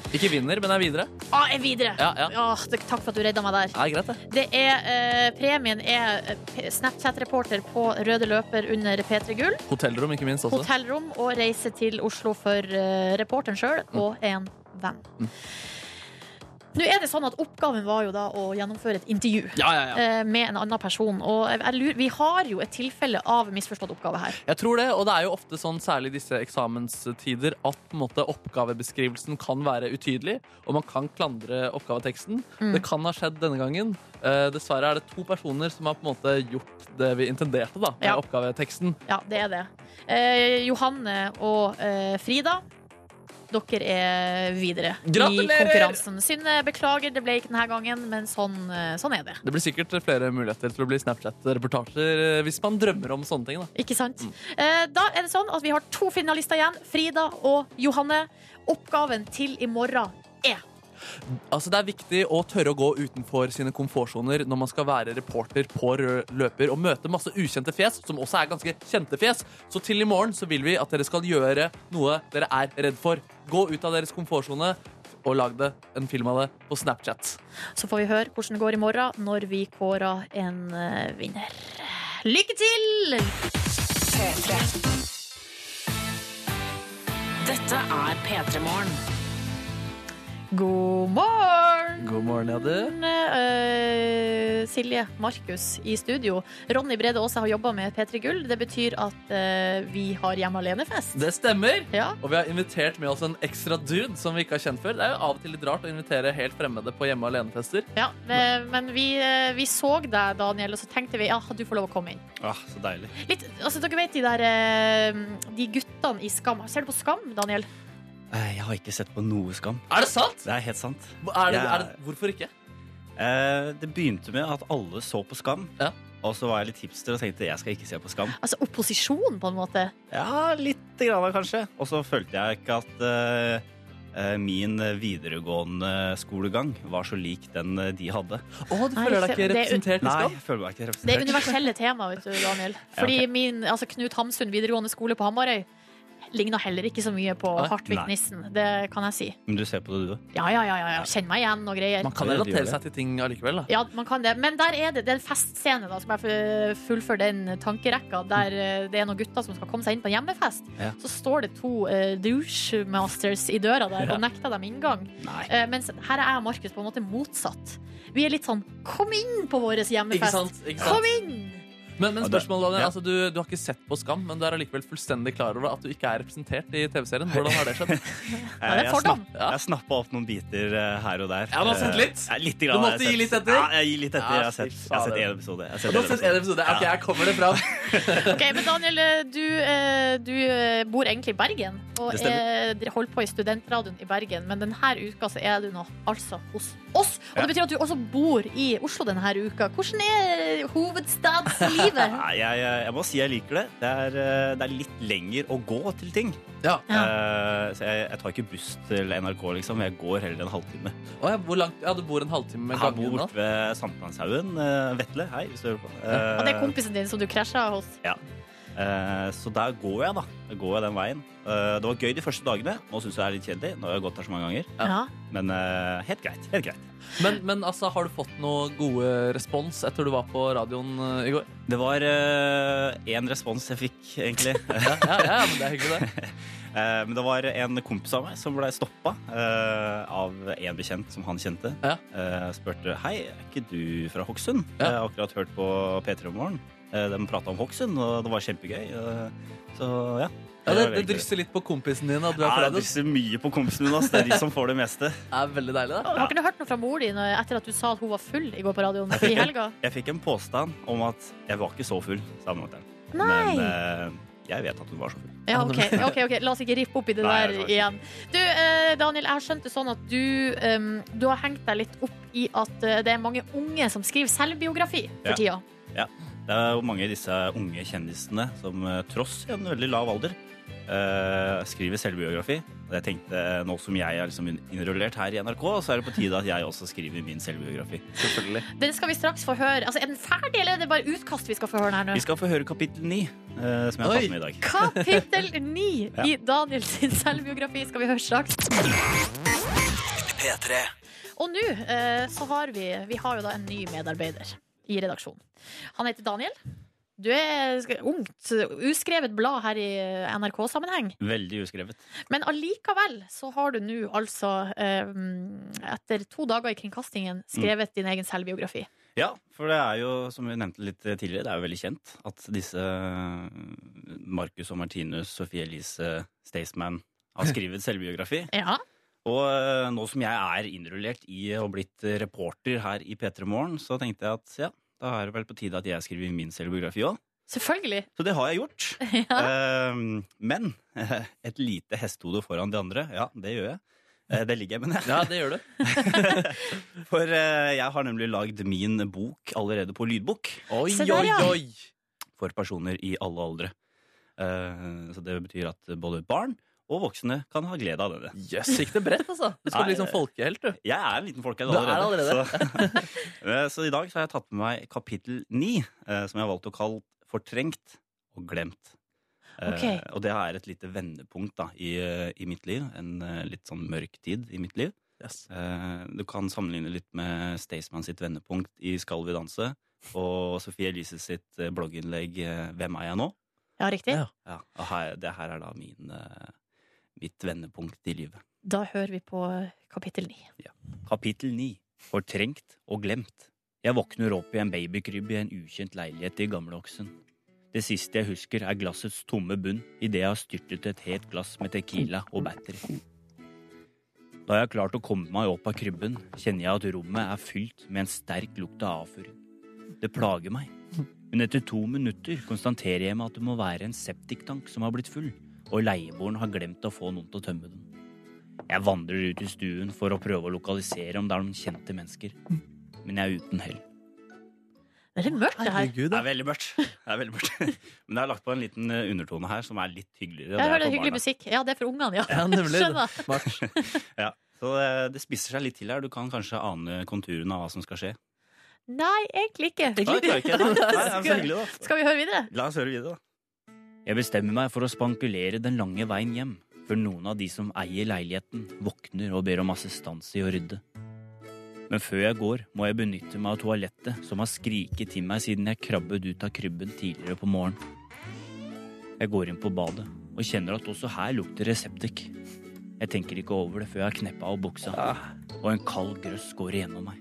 Ikke vinner, men er videre. Ah, jeg er videre! Ja, ja. Ah, det- takk for at du redda meg der. Det er greit, det. Det er, eh, premien er eh, P- Snapchat-reporter på røde løper under P3 Gull. Hotellrom, ikke minst. også. Hotellrom og reise til Oslo for eh, reporteren sjøl Mm. og en venn. Nå er det sånn at Oppgaven var jo da å gjennomføre et intervju Ja, ja, ja. eh, med en annen person. Og jeg, jeg lurer, vi har jo et tilfelle av misforstått oppgave her. Jeg tror det, og det er jo ofte sånn, særlig i disse eksamenstider, at på en måte, oppgavebeskrivelsen kan være utydelig, og man kan klandre oppgaveteksten. Mm. Det kan ha skjedd denne gangen. Eh, dessverre er det to personer som har på en måte gjort det vi intenderte da, med Ja. oppgaveteksten. Ja, det er det. Eh, Johanne og eh, Frida, dere er videre i Gratulerer! konkurransen. Synne, beklager, det ble ikke denne gangen, men sånn, eh, sånn er det. Det blir sikkert flere muligheter til å bli Snapchat-reportasjer eh, hvis man drømmer om sånne ting. Da. Ikke sant? Eh, Da er det sånn at vi har to finalister igjen, Frida og Johanne. Oppgaven til i morgen er Altså, det er viktig å tørre å gå utenfor sine komfortsoner når man skal være reporter på rød løper og møte masse ukjente fjes, som også er ganske kjente fjes. Så til i morgen så vil vi at dere skal gjøre noe dere er redd for. Gå ut av deres komfortsone og lag det, en film av det, på Snapchat. Så får vi høre hvordan det går i morgen når vi kårer en eh, vinner. Lykke til! Dette er P3 Morgen. God morgen! God morgen, ja, du. Eh, Silje Markus i studio. Ronny Brede Aase har jobba med P3 Gull. Det betyr at eh, vi har hjemme alene-fest. Det stemmer. Ja. Og vi har invitert med oss en ekstra dude som vi ikke har kjent før. Det er jo av og til litt rart å invitere helt fremmede på hjemme alene-fester. Ja, eh, men vi, eh, vi så deg, Daniel, og så tenkte vi ja, du får lov å komme inn. Ah, så deilig. Litt, altså Dere vet de der eh, De guttene i Skam. Ser du på Skam, Daniel? Eh, Jeg har ikke sett på noe skam. Er det sant? Det er helt sant. Er det, Jeg- er det, hvorfor ikke? eh, det begynte med at alle så på Skam. Og så var jeg litt hipster og tenkte jeg skal ikke se på Skam. Altså opposisjon, på en måte. Ja, lite grann kanskje. Og så følte jeg ikke at eh, eh, min videregående skolegang var så lik den eh, de hadde. Å, du Nei, føler deg ikke det- det- representert i Skam? Nei, jeg føler meg ikke representert. Det er universelle tema, vet du, Daniel. Fordi Ja, ok. min, altså Knut Hamsun videregående skole på Hamarøy ligna heller ikke så mye på Nei. Hartvig Nei. Nissen. Det kan jeg si. Men du ser på det, du, da? Ja, ja, ja. ja, ja. Kjenn meg igjen og greier. Man kan relatere seg til ting allikevel. da. Ja, man kan det. Men der er det, det er en festscene, da, skal jeg fu- fullføre den tankerekka, der eh, det er noen gutter som skal komme seg inn på en hjemmefest. Ja. Så står det to eh, douchemasters i døra der og Ja. nekter dem inngang. Eh, mens her er jeg og Markus på en måte motsatt. Vi er litt sånn 'kom inn på vår Ikke hjemmefest'. sant, ikke sant. Kom inn! Men, men Og det- spørsmålet, Daniel, ja. altså, du, du har ikke sett på Skam, men du er allikevel fullstendig klar over at du ikke er representert i TV-serien. Hvordan har det skjedd? Eh, Jeg, snapp, jeg snappa opp noen biter eh, her og der. Ja, du har sett Eh, litt? Ja, litt grann, Du måtte har gi jeg sett. litt etter? Ja, jeg gir litt etter. Ja, Jeg har sett, fy jeg har sett faen. én episode. Jeg har Du har sett en episode? Ok, Ja. jeg kommer det fram. Ok, men Daniel, eh, du, eh, du eh, bor egentlig i Bergen og Det er, stemmer. dere holder på i studentradioen i Bergen, men denne uka så er du nå altså hos oss. Og Ja. det betyr at du også bor i Oslo denne uka. Hvordan er hovedstadslivet? Nei, jeg, jeg må si jeg liker det. Det er, eh, det er litt lenger å gå til ting. Eh, så jeg, jeg tar ikke buss til NRK, liksom. Jeg går heller en halvtime. Å, ja, hvor langt, ja, du bor en halvtime med Jeg bor gangen nå? borte ved Sankthanshaugen. Eh, Vetle, hei, hvis du hører på. Og det er Eh, kompisen din som du krasja hos. Ja. Eh, Så der går jeg, da. Jeg går jeg den veien. Eh, Det var gøy de første dagene. Nå syns jeg det er litt kjedelig. Nå har jeg gått her så mange ganger. Ja. Men eh, helt greit. Helt greit. Men, men altså, har du fått noe gode respons etter du var på radioen eh, i går? Det var én respons jeg fikk, egentlig. ja, ja, men det er hyggelig, det. Eh, Men det var en kompis av meg som ble stoppa eh, av en bekjent som han kjente. Eh, Spurte hei, er ikke du fra Hokksund? Jeg har akkurat hørt på P3 om morgenen. Eh, De prata om Hokksund, og det var kjempegøy. Eh, Så ja. Ja, det, var det egentlig- drysser litt på kompisen din at du er på Ja, det radioen. drysser mye på kompisen min. ass. Det er de som får det meste. Det er veldig deilig, Har ikke du hørt noe fra mor din eh, etter at du sa at hun var full i går på radioen i helga? Jeg fikk en påstand om at jeg var ikke så full, sa mutter'n. Nei. Men eh, jeg vet at hun var så full. Ja, OK. ok, ok. La oss ikke rippe opp i det Nei, der det var ikke igjen. Du, eh, Daniel, jeg har skjønt det sånn at du, em, du har hengt deg litt opp i at eh, det er mange unge som skriver selvbiografi for Ja. tida. Ja. Det er jo mange av disse unge kjendisene som eh, tross en veldig lav alder eh, skriver selvbiografi. Og jeg tenkte, nå som jeg er liksom innrullert her i NRK, så er det på tide at jeg også skriver min selvbiografi. Selvfølgelig. Den skal vi straks få høre. Altså, Er den ferdig, eller er det bare utkast vi skal få høre den her nå? Vi skal få høre kapittel ni, eh, som jeg har tatt med i dag. Kapittel 9 Ja. i Daniel sin selvbiografi skal vi høre straks. P3. Og nå eh, så har vi Vi har jo da en ny medarbeider i redaksjonen. Han heter Daniel. Du er sk- ungt, uskrevet blad her i eh, NRK-sammenheng. Veldig uskrevet. Men allikevel så har du nå altså, eh, etter to dager i Mm. kringkastingen, skrevet din egen selvbiografi. Ja, for det er jo, som vi nevnte litt tidligere, det er jo veldig kjent at disse eh, Marcus og Martinus, Sophie Elise, Staysman har skrevet selvbiografi. Ja. Og eh, nå som jeg er innrullert i og blitt eh, reporter her i P3 Morgen, så tenkte jeg at ja, da er det vel på tide at jeg skriver min selvbiografi òg. Selvfølgelig. Så det har jeg gjort. Eh, men et lite hestehode foran de andre, ja, det gjør jeg. Eh, det ligger jeg med, Ja, det gjør du. For eh, jeg har nemlig lagd min bok allerede på lydbok. Oi, Se der, oi, ja. oi. For personer i alle aldre. Eh, så det betyr at både barn og voksne kan ha glede av denne. Jøss, gikk det bredt, altså. Du skal bli som folkehelt, du. Jeg er en liten folkehelt Du er allerede. Så, Eh, så i dag så har jeg tatt med meg kapittel ni, eh, som jeg har valgt å kalle Fortrengt og glemt. Eh, Ok. Og det er et lite vendepunkt da, i, eh, i mitt liv. En eh, litt sånn mørk tid i mitt liv. Eh, Du kan sammenligne litt med Staysman sitt vendepunkt i Skal vi danse? Og Sofie Elise sitt eh, blogginnlegg eh, Hvem er jeg nå? Ja, riktig. Ja, og her, det her er da min, eh, mitt vendepunkt i livet. Da hører vi på kapittel 9. Kapittel 9. Fortrengt og glemt. Jeg våkner opp i en babykrybbe i en ukjent leilighet i Gamleoksen. Det siste jeg husker, er glassets tomme bunn idet jeg har styrtet et helt glass med tequila og battery. Da jeg har klart å komme meg opp av krybben, kjenner jeg at rommet er fylt med en sterk lukt av avføring. Det plager meg. Men etter to minutter konstaterer jeg meg at det må være en septiktank som har blitt full, og leieboeren har glemt å få noen til å tømme den. Jeg vandrer ut i stuen for å prøve å lokalisere om det er noen kjente mennesker, men jeg er uten hell. Det er litt mørkt, det her. det er veldig mørkt. Det er veldig mørkt. Men jeg har lagt på en liten eh, undertone her som er litt hyggeligere. Jeg og det er hører for hyggelig barna. musikk. Ja, det er for ungene, ja. Ja, nemlig. Skjønner. Ja, så det, det spisser seg litt til her. Du kan kanskje ane konturene av hva som skal skje. Nei, egentlig ikke. Nei, det er ikke. Nei, det er så hyggelig, da. Skal vi høre videre? La oss høre videre, da. Jeg bestemmer meg for å spankulere den lange veien hjem, før noen av de som eier leiligheten, våkner og ber om assistanse i å rydde. Men før jeg går, må jeg benytte meg av toalettet, som har skriket til meg siden jeg krabbet ut av krybben tidligere på morgenen. Jeg går inn på badet og kjenner at også her lukter det septik. Jeg tenker ikke over det før jeg har kneppa av buksa, og en kald grøss går igjennom meg.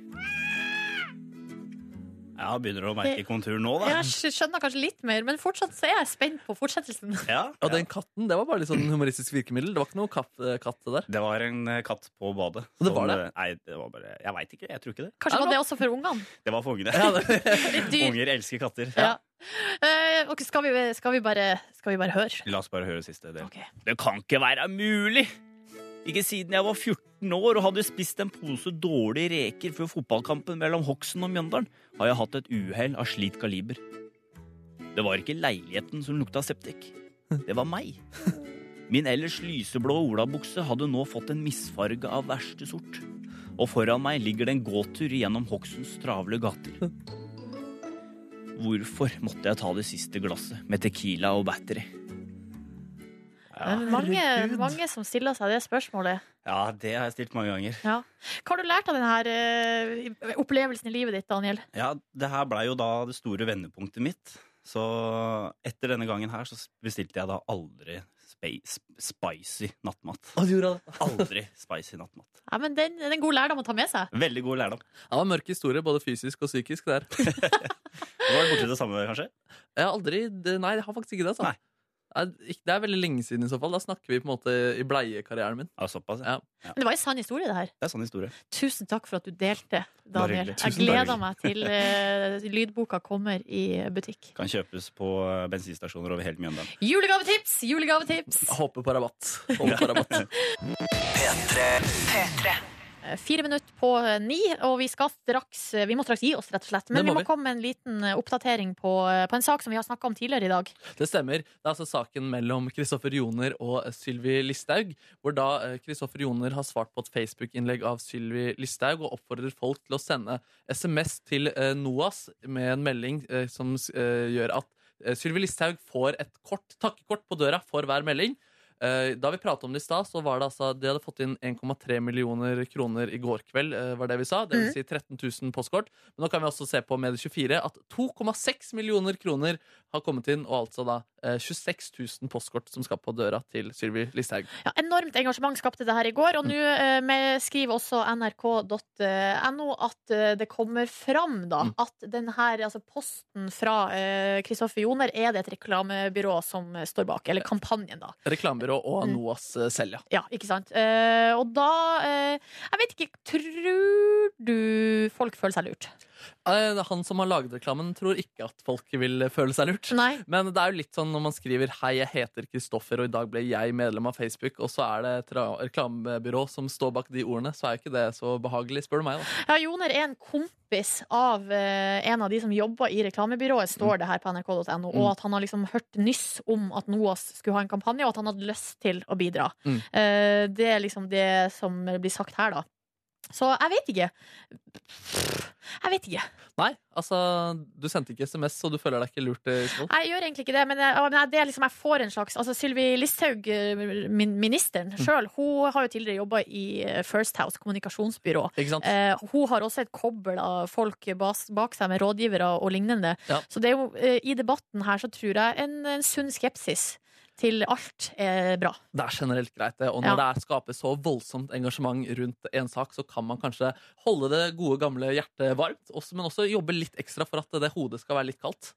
Jeg Ja, begynner du å merke kontur nå, da? Jeg skj- skjønner kanskje litt mer, men fortsatt så er jeg spent på fortsettelsen. Og den katten, det var bare litt sånn humoristisk virkemiddel. Det var ikke noe katt, eh, katt det der. Det var en eh, katt på badet. Det var som, eh, Nei, det var bare Jeg veit ikke. Jeg tror ikke det. Kanskje var det også for ungene? Det var for ungene. Unger elsker katter. Eh, ok, skal, vi, skal, vi bare, skal vi bare høre? La oss bare høre siste del. Det kan ikke være mulig! Ikke siden jeg var 14 år og hadde spist en pose dårlige reker før fotballkampen mellom Hokksund og Mjøndalen, har jeg hatt et uhell av slikt kaliber. Det var ikke leiligheten som lukta septik. Det var meg. Min ellers lyseblå olabukse hadde nå fått en misfarge av verste sort. Og foran meg ligger det en gåtur gjennom Hokksunds travle gater. Hvorfor måtte jeg ta det siste glasset med tequila og battery? Det er Eh, mange, mange som stiller seg det spørsmålet. Ja, det har jeg stilt mange ganger. Ja. Hva har du lært av denne opplevelsen i livet ditt, Daniel? Ja, det her blei jo da det store vendepunktet mitt. Så etter denne gangen her så bestilte jeg da aldri spe- sp- spicy nattmat. Aldri spicy nattmat. Ja, men den, den er en god lærdom å ta med seg. Veldig god lærdom. Det var mørk historie, både fysisk og psykisk. der Du var borti det samme, kanskje? Jeg har aldri, det- Nei, jeg har faktisk ikke det. Altså. Nei, ikke- Det er veldig lenge siden i så fall. Da snakker vi på en måte i bleiekarrieren min. Ja, såpass, ja. Men det var en sann historie, det her. Det er sånn historie. Tusen takk for at du delte, Daniel. Bare hyggelig. Jeg Tusen takk. gleder meg til eh, lydboka kommer i butikk. Kan kjøpes på eh, bensinstasjoner over hele Mjøndalen. Julegavetips! Julegavetips! Håper på rabatt. Håper på rabatt. Eh, Fire minutter på eh, ni, og vi skal straks eh, Vi må straks gi oss, rett og slett. Men Det må vi må vi. komme med en liten eh, oppdatering på, eh, på en sak som vi har snakka om tidligere i dag. Det stemmer. Det er altså saken mellom Kristoffer Joner og Sylvi Listhaug. Hvor da eh, Kristoffer Joner har svart på et Facebook-innlegg av Sylvi Listhaug og oppfordrer folk til å sende SMS til eh, NOAS med en melding eh, som eh, gjør at eh, Sylvi Listhaug får et kort takkekort på døra for hver melding. Eh, Da vi pratet om det i stad, så var det altså De hadde fått inn 1,3 millioner kroner i går kveld, eh, var det vi sa. Det vil si 13 000 postkort. Men nå kan vi også se på Medie24 at 2,6 millioner kroner har kommet inn, og altså da eh, 26 000 postkort som skal på døra til Sylvi Listhaug. Ja, enormt engasjement skapte det her i går, og nå eh, med- skriver også nrk.no at eh, det kommer fram da, at den her altså posten fra eh, Kristoffer Joner er det et reklamebyrå som eh, står bak, eller kampanjen, da. Reklamebyrå og NOAS eh, selv, ja. Ja, ikke sant. Eh, og da eh, Jeg vet ikke, tror du folk føler seg lurt? Eh, Han som har laget reklamen, tror ikke at folk vil eh, føle seg lurt. Men det er jo litt sånn når man skriver 'Hei, jeg heter Kristoffer, og i dag ble jeg medlem av Facebook', og så er det et ra- reklamebyrå som står bak de ordene, så er jo ikke det så behagelig, spør du meg. da Ja, Joner er en kompis av eh, en av de som jobber i reklamebyrået, står det her på nrk.no, og at han har liksom hørt nyss om at NOAS skulle ha en kampanje, og at han hadde lyst til å bidra. Mm. Eh, det er liksom det som blir sagt her, da. Så jeg vet ikke. Jeg vet ikke. Nei, altså, du sendte ikke SMS, så du føler deg ikke lurt? eh, Isvold. Jeg gjør egentlig ikke det, men jeg, ja, men jeg- det er liksom, jeg får en slags Altså Sylvi Listhaug, eh, min, ministeren sjøl, hun har jo tidligere jobba i eh, First House kommunikasjonsbyrå. Ikke sant? Eh, hun har også et kobbel av folk bas, bak seg med rådgivere og lignende. Ja. Så det er jo, eh, i debatten her så tror jeg en, en sunn skepsis til alt er bra. Det er generelt greit, det. Og når det er skaper så voldsomt engasjement rundt en sak, så kan man kanskje holde det gode, gamle hjertet varmt, også, men også jobbe litt ekstra for at det hodet skal være litt kaldt.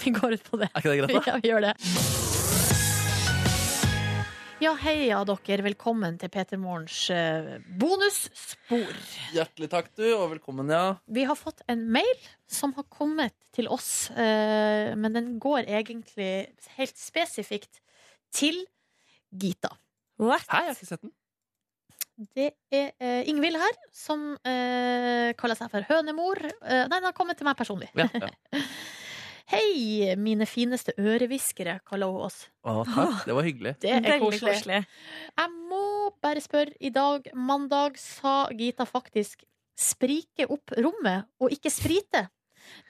Vi går ut på det. Er ikke det greit, da? Ja, vi gjør det. Ja, heia dere. Velkommen til Peter Morgens eh, bonusspor. Hjertelig takk, du, og velkommen, ja. Vi har fått en mail som har kommet til oss, eh, men den går egentlig helt spesifikt til Gita. Hei, jeg har ikke sett den. Det er eh, Ingvild her, som eh, kaller seg for hønemor. Eh, nei, den har kommet til meg personlig. Ja, ja. Hei, mine fineste ørehviskere, kaller hun oss. Å, takk. Det var hyggelig. Det er Veldig koselig. Jeg må bare spørre. I dag, mandag, sa Gita faktisk 'sprike opp rommet' og ikke 'sprite'.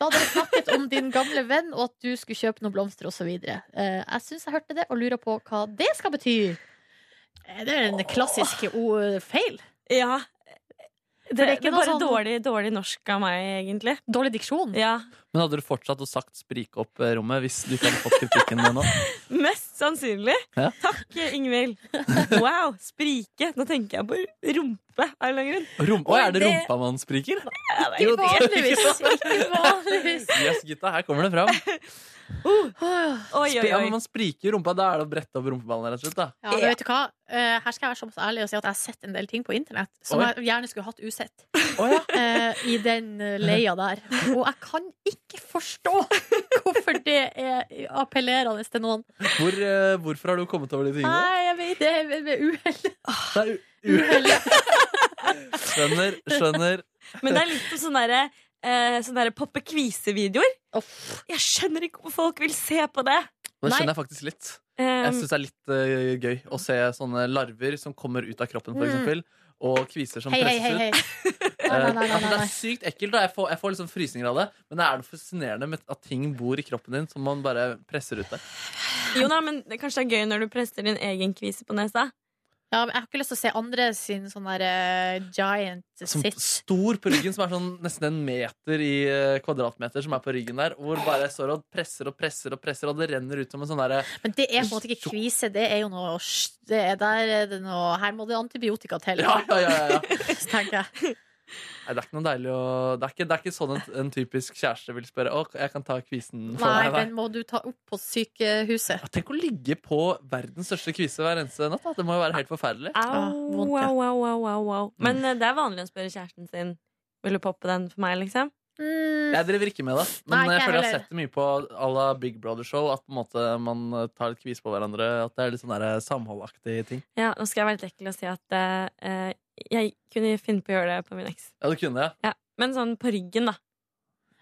Da dere snakket om din gamle venn og at du skulle kjøpe noen blomster osv. Eh, Jeg syns jeg hørte det, og lurer på hva det skal bety. Eh, Det er en klassisk o- feil. Ja. Det, det sånn- er ikke men bare altså- dårlig, dårlig norsk av meg, egentlig. Dårlig diksjon? Ja. Men hadde du fortsatt å sagt 'sprike opp eh, rommet' hvis du ikke hadde fått kritikken nå? Mest sannsynlig. Ja. Takk, Ingvild. Wow, sprike. Nå tenker jeg på rumpe av en eller annen grunn. Rom Å, er det rumpa man spriker? Jo, det- Ikke vanligvis. Yes, gutta, her kommer det fram. Oi, Spri- Ja, men man spriker rumpa, da er det å brette opp rumpeballen, rett og slett. da Ja, men vet du hva? Eh, Her skal jeg være såpass ærlig og si at jeg har sett en del ting på internett som Oi. jeg gjerne skulle hatt usett. Eh, I den eh, leia der. Og jeg kan ikke forstå hvorfor det er appellerende til noen. Hvor, eh, hvorfor har du kommet over de tingene? Nei, jeg vet Det er ved uhell. Skjønner, skjønner. Men det er litt på sånne derre eh, sånne der poppe kvise-videoer. Jeg skjønner ikke hvorfor folk vil se på det. Men det skjønner jeg faktisk litt. Um, Jeg syns det er litt eh, gøy å se sånne larver som kommer ut av kroppen, for Mm. eksempel. Og kviser som Hei, hei, presses hei. hei. ut. Nei, nei, nei, Eh, ja, men nei, det nei. er sykt ekkelt, og jeg får, jeg får liksom frysninger av det. Men det er noe fascinerende med at ting bor i kroppen din som man bare presser ut der. Jo da, men det kanskje det er gøy når du presser din egen kvise på nesa. Ja, men jeg har ikke lyst til å se andre sin sånn der eh, giant Som sit. stor på ryggen, som er sånn nesten en meter i eh, kvadratmeter, som er på ryggen der, hvor bare jeg står og presser og presser og presser, og det renner ut som en sånn derre Men det er på en måte ikke kvise, det er jo noe sj- det er der er det noe, Her må det antibiotika til. Ja, ja, ja, ja. Så tenker jeg. Nei, det er ikke noe deilig å Det er ikke, det er ikke sånn en, en typisk kjæreste vil spørre Å, jeg kan ta kvisen for Nei, deg. den må du ta opp på sykehuset. Tenk å ligge på verdens største kvise hver eneste natt. Da. Det må jo være helt forferdelig. Au, au, au, au, au, au. Mm. Men eh, det er vanlig å spørre kjæresten sin Vil du poppe den for meg, liksom. Mm. Jeg driver ikke med det, men Nei, ikke jeg jeg føler jeg har heller. sett det mye på à la Big Brother-show. At på en måte man eh, tar litt kvise på hverandre. At det er litt sånn der samholdaktig ting. Ja, nå skal jeg være litt ekkel og si at eh, jeg kunne finne på å gjøre det på min eks. Ja, du kunne det? Ja. Men sånn på ryggen, da.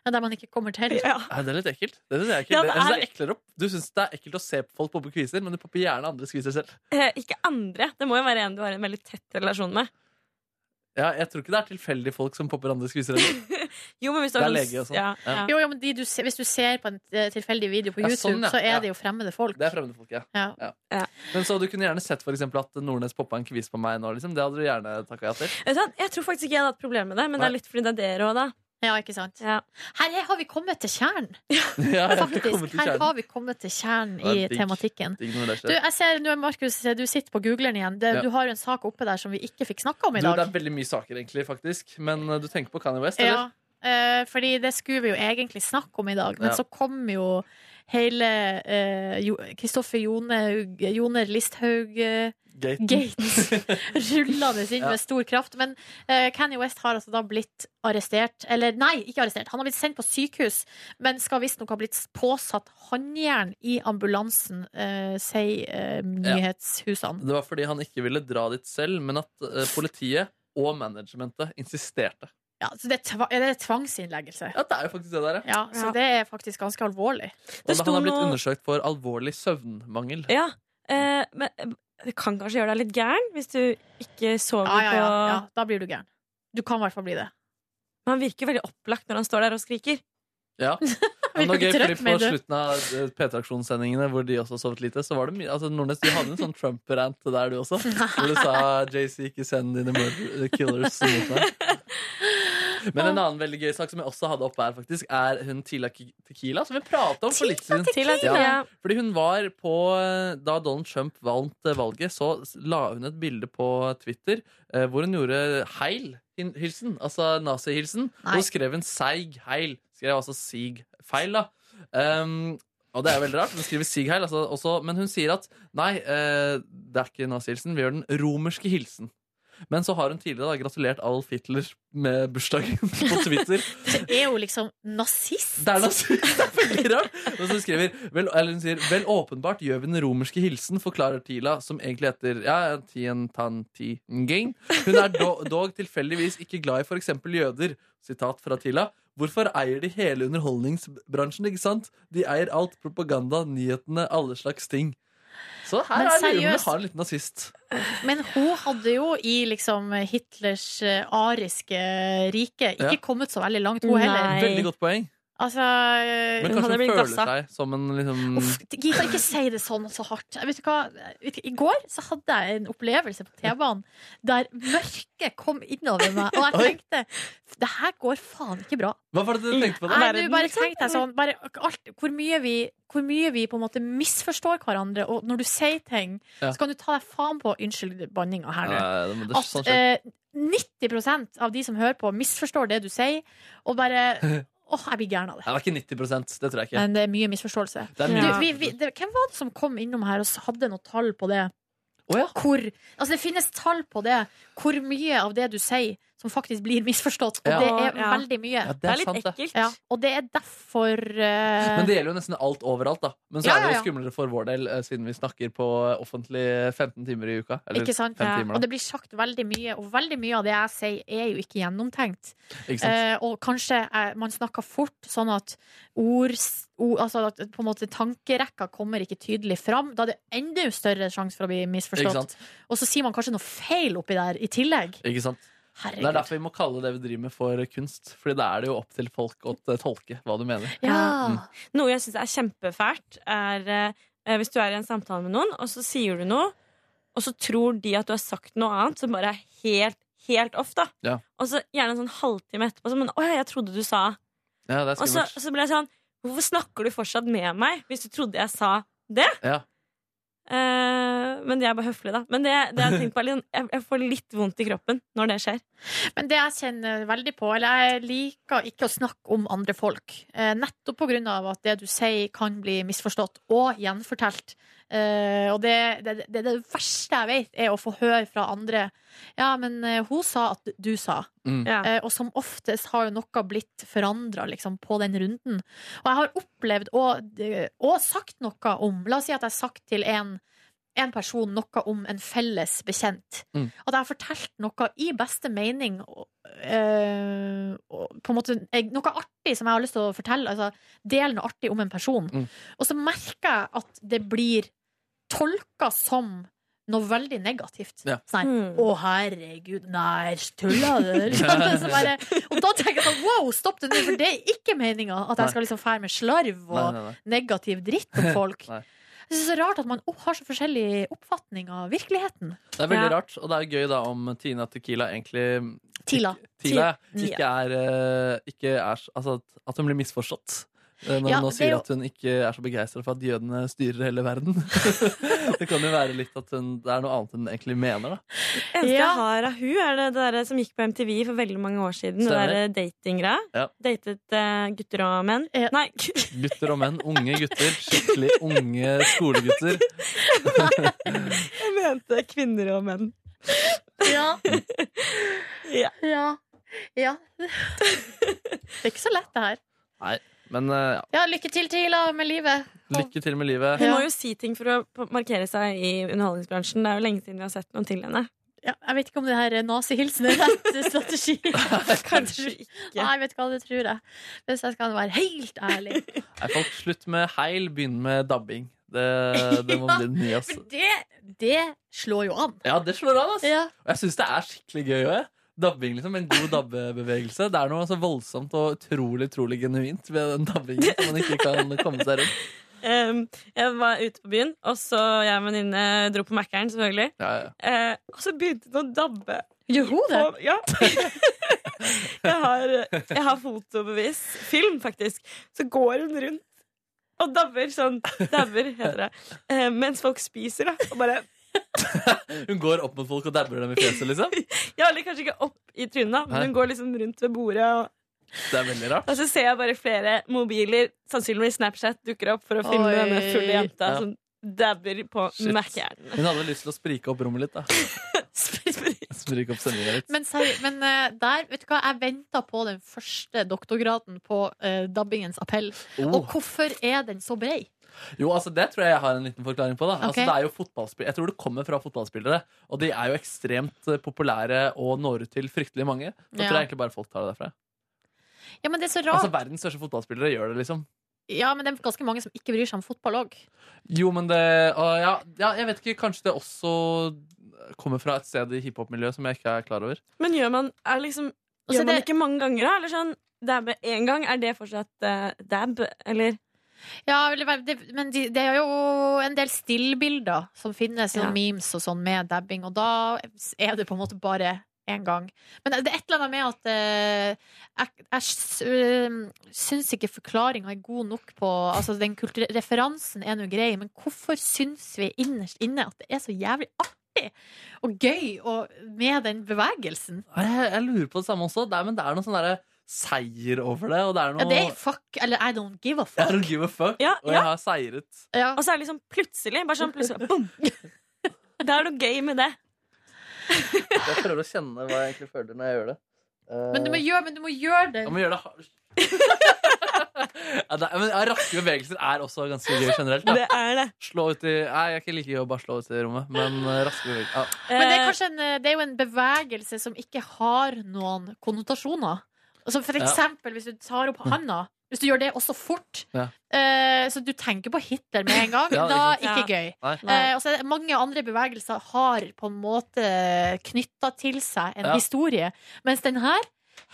Ja, Der man ikke kommer til. Ja. Nei, det er litt ekkelt. Det synes jeg er ekkelt. Ja, det er... Jeg det synes det er er- eklere opp. Du syns det er ekkelt å se på folk poppe kviser, men du popper gjerne andres kviser selv. Eh, ikke andre. Det må jo være en du har en veldig tett relasjon med. Ja, jeg tror ikke det er tilfeldig folk som popper andres kviser. heller. Jo, men hvis du Det har er lyst- lege og sånn. Ja, ja. Jo, jo, men de du, se- hvis du ser på en eh, tilfeldig video på Ja, YouTube, sånn, ja. så er Ja. det jo fremmede folk. Det er fremmede folk, ja. Ja. Ja. Men så du kunne gjerne sett for eksempel at Nordnes poppa en kvis på meg nå, liksom. Det hadde du gjerne takka ja til. Vet du hva? Jeg tror faktisk ikke jeg hadde hatt problemer med det, men det Nei. er litt fordi det er dere òg, da. Ja, ikke sant? Her har vi kommet til kjernen, Ja, jeg hadde kommet faktisk. til Her kjernen. har vi kommet til kjernen Det i er digg. tematikken. Digg når det Du, skjer. jeg ser, nå er Markus, du sitter på googleren igjen. Det, Ja. Du har jo en sak oppe der som vi ikke fikk snakka om i Du, det dag. er veldig mye saker, egentlig, faktisk. Men eh, du tenker på Kanye West, Ja, eller? eh, fordi det skulle vi jo egentlig snakke om i dag, men Ja. så kom jo hele eh, Jo- Kristoffer Jone- Joner Listhaug eh, Gaten. Gates rullende inn Ja. med stor kraft. Men eh, Kanye West har altså da blitt arrestert Eller nei, ikke arrestert. Han har blitt sendt på sykehus, men skal visstnok ha blitt påsatt håndjern i ambulansen, eh, sier eh, nyhetshusene. Det var fordi han ikke ville dra dit selv, men at eh, politiet og managementet insisterte. Ja, så det er, tva er det tvangsinnleggelse. Ja, det er jo faktisk det der, ja. Så det er faktisk ganske alvorlig. Og da han har blitt noe- undersøkt for alvorlig søvnmangel. Ja, eh, men eh, det kan kanskje gjøre deg litt gæren hvis du ikke sover Ja, ja, ja, på ja. Da blir du gæren. Du kan i hvert fall bli det. Men han virker veldig opplagt når han står der og skriker. Ja. Men det var gøy, ikke trøtt, fordi på mener du? slutten av eh, P3-aksjonssendingene, hvor de også har sovet lite, så var det mye Altså, Nordnes, du hadde en sånn Trump-rant der, du også. Hvor du sa JC, ikke send dine murder eh, killers mot meg. Men en annen veldig gøy sak som jeg også hadde oppe her, faktisk, er hun Tila Ki- Tequila, som vi pratet om for litt siden. Tequila, ja. Fordi hun var på eh, Da Donald Trump vant eh, valget, så s- la hun et bilde på Twitter eh, hvor hun gjorde heil. hin- Hilsen, altså nazihilsen. Og skrev en seig heil. Skrev altså sig feil, da. Um, og det er veldig rart. Hun skriver sig heil, altså, også, men hun sier at nei, eh, det er ikke nazihilsen. Vi gjør den romerske hilsen. Men så har hun tidligere da gratulert Alf Hitler med bursdagen på Twitter. Det er jo liksom nazist. Det er nazist, det er veldig rart! Og så skriver vel, eller hun sier, vel åpenbart gjør vi den romerske hilsen, forklarer Tila, som egentlig heter ja, Tien Tan Ti Ngeng. Hun er do, dog tilfeldigvis ikke glad i for eksempel jøder. Sitat fra Tila. Hvorfor eier de hele underholdningsbransjen, ikke sant? De eier alt. Propaganda, nyhetene, alle slags ting. Så her Men er det hun seriøst. har en liten nazist. Men hun hadde jo i liksom Hitlers eh, ariske rike ikke Ja. kommet så veldig langt, hun heller. Veldig godt poeng. Altså Men kanskje hun føler seg som en liksom Gita, ikke si det sånn så hardt. Vet du hva? Vet du, I går så hadde jeg en opplevelse på T-banen der mørket kom innover meg, og jeg tenkte det her går faen ikke bra. Hva var det du tenkte på? da? Nei, du bare tenkte jeg sånn bare, alt, hvor, mye vi, hvor mye vi på en måte misforstår hverandre, og når du sier ting, Ja. så kan du ta deg faen på Unnskyld banninga her nå. Nei, men det er At sånn skjer. eh, 90 av de som hører på, misforstår det du sier, og bare Åh, jeg blir gæren av det. Nei, det var ikke 90 det tror jeg ikke. Men det er mye misforståelse. Det er mye Du, vi, vi, det, hvem var det som kom innom her og s- hadde noe tall på det? Hvor, altså det finnes tall på det. Hvor mye av det du sier, som faktisk blir misforstått. Og Ja. det er Ja. veldig mye. Ja, det er Det er litt sant, det. ekkelt. Ja, og det er derfor eh, Men det gjelder jo nesten alt overalt, da. Men så Ja, er det ja, jo ja. skumlere for vår del, eh, siden vi snakker på offentlig 15 timer i uka. Eller ikke sant? 5 timer, Og det da. blir sagt veldig mye, og veldig mye av det jeg sier, er jo ikke gjennomtenkt. Ikke sant? Eh, og kanskje eh, man snakker fort, sånn at ord, s- o- altså at på en måte tankerekka kommer ikke tydelig fram. Da er det enda større sjanse for å bli Ikke misforstått. sant? Og så sier man kanskje noe feil oppi der i tillegg. Ikke sant? Herregud. Det er derfor vi må kalle det vi driver med, for kunst. Fordi da er det jo opp til folk å t- tolke hva du mener. Mm. Noe jeg syns er kjempefælt, er eh, hvis du er i en samtale med noen, og så sier du noe, og så tror de at du har sagt noe annet som bare er helt, helt off, da. Ja. Og så gjerne en sånn halvtime etterpå så, men, Å ja, jeg trodde du sa ja, det er Og så, skummelt. så ble jeg sånn Hvorfor snakker du fortsatt med meg hvis du trodde jeg sa det? Ja. Eh, men det er bare høflig, da. Men det, det jeg, tenker på er litt, sånn- jeg, jeg får litt vondt i kroppen når det skjer. Men det jeg kjenner veldig på, eller jeg liker ikke å snakke om andre folk, eh, nettopp på grunn av at det du sier kan bli misforstått og gjenfortelt. Eh, og det, det, det, det verste jeg vet, er å få høre fra andre Ja, men eh, hun sa at du sa. Mm. Ja. Eh, og som oftest har jo noe blitt forandra liksom, på den runden. Og jeg har opplevd og, og sagt noe om La oss si at jeg har sagt til en, en person noe om en felles bekjent. Mm. At jeg har fortalt noe i beste mening. og, eh, og på en måte, jeg, noe artig som jeg har lyst til å fortelle. Altså, del noe artig om en person. Mm. Og så merker jeg at det blir tolka som noe veldig negativt. Ja. Sånn, her, Å, herregud, nei, tulla du? Liksom. Så bare, og da tenker jeg sånn, wow, stopp det nå, for det er ikke meninga at Nei. jeg skal liksom fære med slarv og Nei, nei, nei. negativ dritt om folk. Nei. Jeg synes det er så rart at man oh, har så forskjellig oppfatning av virkeligheten. Det er veldig Ja. rart, og det er gøy da om Tina Tequila egentlig Tila. Tila Ti- ikke er, eh, ikke er s- altså, at- At hun blir misforstått. eh, Når Ja, hun det nå er sier jo- at hun ikke er så begeistra for at jødene styrer hele verden. det kan jo være litt at hun, det er noe annet enn hun egentlig mener. da eneste jeg har av hun er det det der som gikk på MTV for veldig mange år siden. Stemmer. Det der datinggreia. Ja. Datet eh, gutter og menn. Nei, Gutter og menn. Unge gutter. Skikkelig unge skolegutter. jeg mente kvinner og menn. Ja. ja. ja. Det er ikke så lett, det her. Nei, men eh, ja. Ja, lykke til, Tila, med livet. lykke til med livet. Hun må jo si ting for å på- markere seg i underholdningsbransjen. Det er jo lenge siden vi har sett noe til henne. Ja, jeg vet ikke om det her nazihilsen er rett strategi. Kanskje ikke. Nei, vet du hva, det tror jeg. Hvis jeg skal være helt ærlig. Nei, folk, slutt med heil, begynn med dabbing. Det, det må bli den nye. ass. For det, det slår jo an. Ja, det slår an, ass. Ja. Og jeg syns det er skikkelig gøy òg. Dabbing, liksom. En god dabbebevegelse. Det er noe så voldsomt og utrolig, utrolig genuint ved den dabbingen som man ikke kan komme seg rundt. Em, jeg var ute på byen, og så jeg og en venninne dro på Mækkern, selvfølgelig. Eh, og så begynte den å dabbe. Gjorde hun det? Ja. jeg, har, jeg har fotobevis. Film, faktisk. Så går hun rundt og dabber sånn. Dabber, heter det. Eh, mens folk spiser, da. Og bare Hun går opp mot folk og dabber dem i fjeset, liksom. Ja, eller kanskje ikke opp i trynet, da, Hæ? men hun går liksom rundt ved bordet. Og, Det er veldig rart. og så ser jeg bare flere mobiler, sannsynligvis Snapchat, dukker opp for å filme Oi. denne fulle jenta Ja. som dabber på Shit. Mækkern. Hun hadde lyst til å sprike opp rommet litt, da. Sprike opp sendinga litt. Men, seri- men eh, der, vet du hva, jeg venta på den første doktorgraden på eh, dabbingens appell. Oh. Og hvorfor er den så brei? Jo, altså Det tror jeg jeg har en liten forklaring på. da Ok. altså, det er jo fotballspill Jeg tror det kommer fra fotballspillere. Og de er jo ekstremt eh, populære og når ut til fryktelig mange. Da Ja. tror jeg egentlig bare folk tar det derfra. Ja, men det er så rart. Altså Verdens største fotballspillere gjør det, liksom. Ja, men det er ganske mange som ikke bryr seg om fotball òg. Jo, men det å, ja, ja, jeg vet ikke. Kanskje det også kommer fra et sted i hiphop-miljøet som jeg ikke er klar over. Men gjør man er det liksom Og så Gjør man det- det ikke mange ganger, da? Eller sånn, dæbe én gang, er det fortsatt eh, dab, eller? Ja, eller hva- det, men de- det er jo en del stillbilder som finnes, sånn Ja. memes og sånn med dabbing, og da er det på en måte bare én gang. Men det er et eller annet med at eh, jeg, jeg s- øhm, syns ikke forklaringa er god nok på Altså, den kulturelle referansen er nå grei, men hvorfor syns vi innerst inne at det er så jævlig artig og gøy og med den bevegelsen? Jeg, jeg lurer på det samme også. Det er, men det er noe sånn derre seier over det, og det er Ja, noe det er fuck, eller I don't give a fuck. I don't give a fuck, Ja, og ja. jeg har seiret. Og så er det liksom plutselig, bare sånn plutselig, bom! Det er noe gøy med det. Jeg prøver å kjenne hva jeg egentlig føler når jeg gjør det. Eh, Men du må gjøre, men du må gjøre det. jeg må gjøre det hard- ja, det er- men Raske bevegelser er også ganske gøy generelt. Da. Det er det. Slå ut i, nei, jeg er ikke like gøy å bare slå ut i rommet, men eh, raske bevegelser ja. Men Eh, det er, kanskje en, eh, det er jo en bevegelse som ikke har noen konnotasjoner. Altså for Ja. Mm. eksempel hvis du tar opp handa. Hvis du gjør det også fort, Ja. eh, så du tenker på Hitler med en gang, Ja, da ikke ikke sant. gøy. Nei. Eh, og så er det mange andre bevegelser har på en måte knytta til seg en Ja. historie, mens den her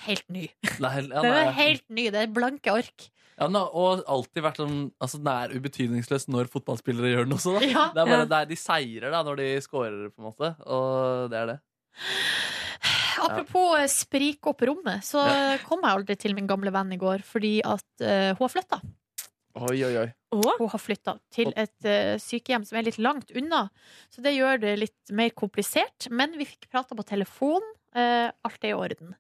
helt ny. Nei, ja, den nei. er helt ny. Det er blanke ark. Ja, den har- og alltid vært sånn altså, Den er ubetydningsløs når fotballspillere gjør den også. Da. Ja. det er bare Ja. der de seirer da, når de scorer, på en måte. Og det er det. Apropos eh, sprike opp rommet, så Ja. kom jeg aldri til min gamle venn i går fordi at eh, hun har flytta. Oi, oi, oi. Hun har flytta til et eh, sykehjem som er litt langt unna, så det gjør det litt mer komplisert. Men vi fikk prata på telefon. eh, alt er i orden.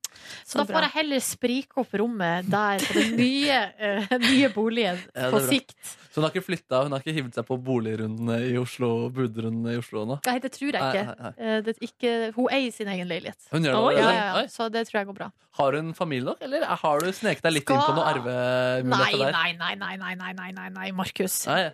Så Så, da bra. får jeg heller sprike opp rommet der på den nye, eh, nye boligen Ja, det er på bra. sikt. Så hun har ikke flytta, hun har ikke hivet seg på boligrundene i Oslo, budrundene i Oslo nå? Nei, det tror jeg Nei, ikke. nei, Eh, det er ikke hun eier sin egen leilighet. Hun gjør det Oi, allerede? ja, ja, Oi. ja. Så det tror jeg går bra. Har hun familie nok, eller har du sneket deg litt Skal- inn på noen Nei, arvemuligheter der? nei, nei, nei, nei, nei, nei, nei, nei Markus. Nei.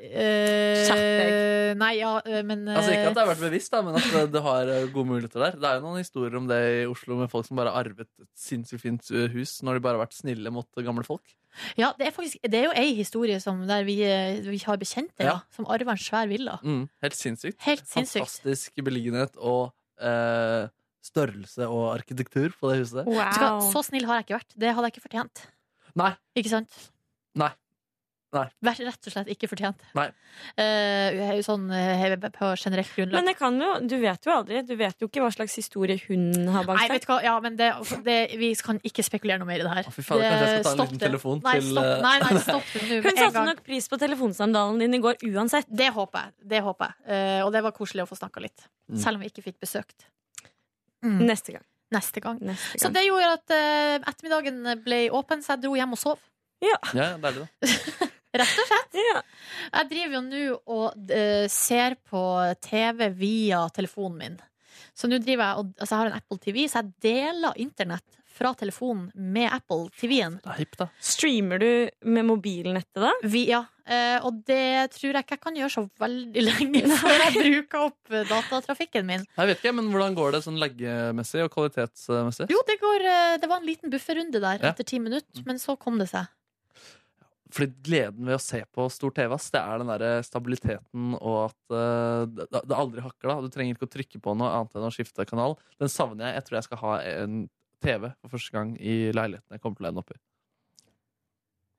Eh, nei, ja, eh, men Altså Ikke at det eh, har vært bevisst, da, men at eh, du har eh, gode muligheter der. Det er jo noen historier om det i Oslo med folk som bare har arvet et sinnssykt fint eh, hus når de bare har vært snille mot eh, gamle folk. Ja, det er, faktisk, det er jo ei historie som der vi, eh, vi har bekjente, ja. Ja. som arver en svær villa. Mm, helt sinnssykt. Helt sinnssykt. Fantastisk beliggenhet og eh, størrelse og arkitektur på det huset. Vet du hva, sånn Så snill har jeg ikke vært. Det hadde jeg ikke fortjent. Nei. Ikke sant? Nei. Nei. Vært Rett og slett ikke fortjent. Nei. Eh, jeg er jo sånn eh, på generelt grunnlag. Men det kan jo, du vet jo aldri. Du vet jo ikke hva slags historie hun har bak Nei, vet du hva? Ja, men det, altså, det, vi kan ikke spekulere noe mer i det her. fy faen, Det- kanskje jeg skal ta en stopp liten det. telefon nei, til, Stopp, eh, nei, nei, stopp det nå. Hun sånn satte nok pris på telefonsamtalen din i går uansett. Det håper jeg. Det håper jeg. Eh, og det var koselig å få snakka litt. Mm. Selv om vi ikke fikk besøkt. Mm. Neste gang. Neste gang. Neste Mm. Så det gjorde at eh, ettermiddagen ble åpen, så jeg dro hjem og sov. Ja, deilig, da. Rett og slett. Jeg driver jo nå og eh, ser på TV via telefonen min. Så nå driver jeg og altså jeg har en Apple TV, så jeg deler internett fra telefonen med Apple TV-en. Streamer du med mobilnettet da? Vi, ja. Eh, og det tror jeg ikke jeg kan gjøre så veldig lenge før jeg bruker opp eh, datatrafikken min. Jeg vet ikke, men Hvordan går det sånn leggemessig og kvalitetsmessig? Jo, det, går, eh, det var en liten bufferrunde der Ja. etter ti minutter, men så kom det seg. Fordi gleden ved å se på stor TV, ass, det er den der stabiliteten og at eh, det, det aldri hakker. da Du trenger ikke å trykke på noe annet enn å skifte kanal. Den savner jeg. Jeg tror jeg skal ha en TV for første gang i leiligheten jeg kommer til å ende opp i.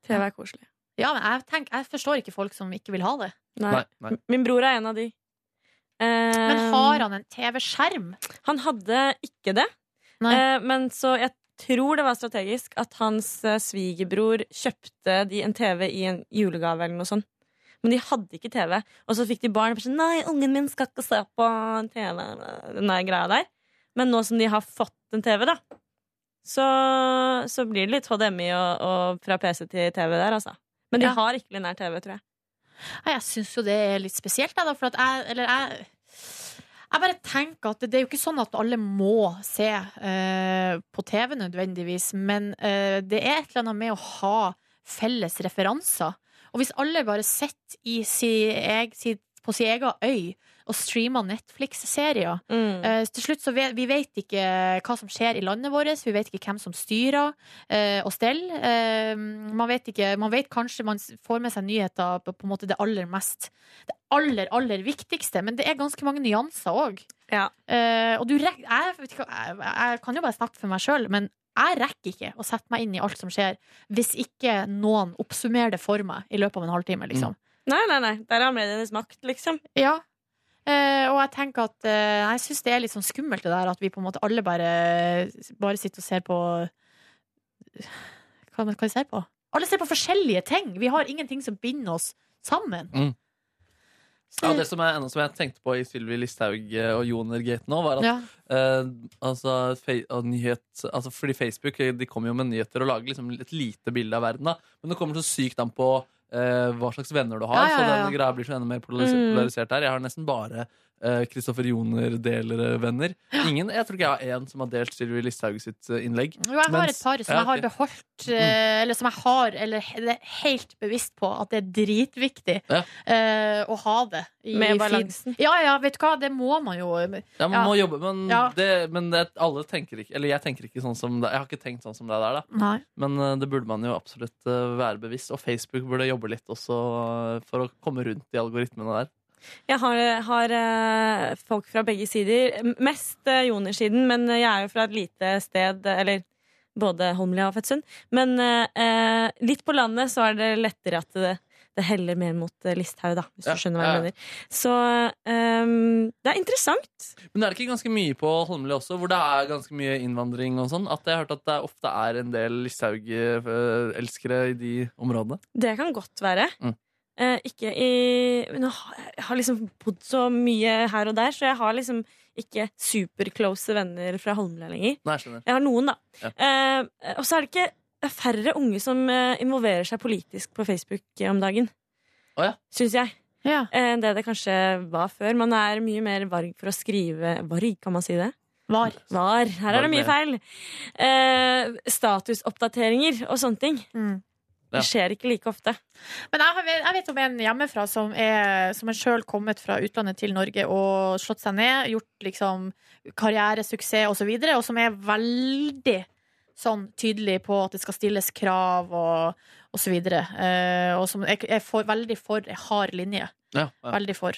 TV er koselig. Ja, men jeg, tenker, jeg forstår ikke folk som ikke vil ha det. Nei, nei. Min bror er en av de. Men har han en TV-skjerm? Han hadde ikke det. Eh, men så jeg tror det var strategisk at hans eh, svigerbror kjøpte de en TV i en julegave eller noe sånt. Men de hadde ikke TV. Og så fikk de barn. og bare sånn, Nei, ungen min skal ikke se på TV. Den der greia der. Men nå som de har fått en TV, da, så, så blir det litt HDMI og, og fra PC til TV der, altså. Men de Ja. har ikke linær TV, tror jeg. Nei, Ah, jeg syns jo det er litt spesielt, jeg, da, for at jeg Eller jeg jeg bare tenker at det er jo ikke sånn at alle må se eh, på TV nødvendigvis, men eh, det er et eller annet med å ha felles referanser. Og hvis alle bare sitter i si, eg, si, på sin egen øy og streamer Netflix-serier Mm. eh, Til slutt så vet, Vi vet ikke hva som skjer i landet vårt, vi vet ikke hvem som styrer eh, og steller. Eh, man, vet ikke, man vet kanskje man s- får med seg nyheter på, på en måte det aller mest Det aller, aller viktigste, men det er ganske mange nyanser Eh, òg. Ja. og du rek jeg, vet ikke, hva- jeg, jeg kan jo bare snakke for meg sjøl, men Jeg rekker ikke å sette meg inn i alt som skjer, hvis ikke noen oppsummerer det for meg i løpet av en halvtime. liksom. Nei, nei, nei. Der er medienes makt, liksom. Ja. Eh, og jeg tenker at eh, jeg syns det er litt sånn skummelt det der at vi på en måte alle bare, bare sitter og ser på Hva hva vi ser på? Alle ser på forskjellige ting! Vi har ingenting som binder oss sammen. Mm. Ja, det som jeg, enda som jeg tenkte på i Sylvi Listhaug eh, og Joner Gate nå, var at Ja. eh, altså, fe- og nyhet, altså, Fordi Facebook eh, de kommer jo med nyheter og lager liksom et lite bilde av verden. Da. Men det kommer så sykt an på eh, hva slags venner du har. Ja, ja, ja, Så den ja. greia blir så enda mer polaris Mm. polarisert der. Jeg har nesten bare Kristoffer Joner-delere venner. Ingen, jeg tror ikke jeg har én som har delt Sylvi Listhaug sitt eh, innlegg. Jo, jeg har Mens- et par som Ja, jeg har ok. Mm. beholdt, eh, eller som jeg har, eller he- det er helt bevisst på at det er dritviktig eh, å ha det i Med feeden. balansen. Ja, ja, vet du hva, det må man jo. Ja, man må jobbe, men, Ja. det, men det, alle tenker ikke Eller jeg tenker ikke sånn som deg. Jeg har ikke tenkt sånn som deg der, da. Nei. Men eh, det burde man jo absolutt eh, være bevisst. Og Facebook burde jobbe litt også eh, for å komme rundt de algoritmene der. Jeg har, har eh, folk fra begge sider. M- Mest eh, Joner-siden, men jeg er jo fra et lite sted, eh, eller både Holmlia og Fettsund. Men eh, eh, litt på landet så er det lettere at det, det heller mer mot eh, Listhaug, da, hvis Ja, du skjønner hva ja. jeg mener. Så eh, det er interessant. Men er det ikke ganske mye på Holmlia også, hvor det er ganske mye innvandring og sånn? At jeg har hørt at det ofte er en del Listhaug-elskere i de områdene? Det kan godt være. Mm. Eh, ikke i men jeg har- Jeg har liksom bodd så mye her og der, så jeg har liksom ikke superclose venner fra Holmlia lenger. Nei, jeg skjønner. Jeg har noen, da. Ja. Eh, og så er det ikke det er færre unge som eh, involverer seg politisk på Facebook eh, om dagen. Oh, Syns jeg. Ja. Eh, enn det det kanskje var før. Man er mye mer varg for å skrive Varg, kan man si det? Var. Her er det mye feil. Eh, statusoppdateringer og sånne ting. Mm. Ja. Det skjer ikke like ofte. Men jeg, har, jeg vet om en hjemmefra som er, som er sjøl kommet fra utlandet til Norge og slått seg ned, gjort liksom karrieresuksess osv., videre, og som er veldig sånn tydelig på at det skal stilles krav og, og så videre. Eh, og som er, er for, veldig for en hard linje. Ja, ja. Veldig for.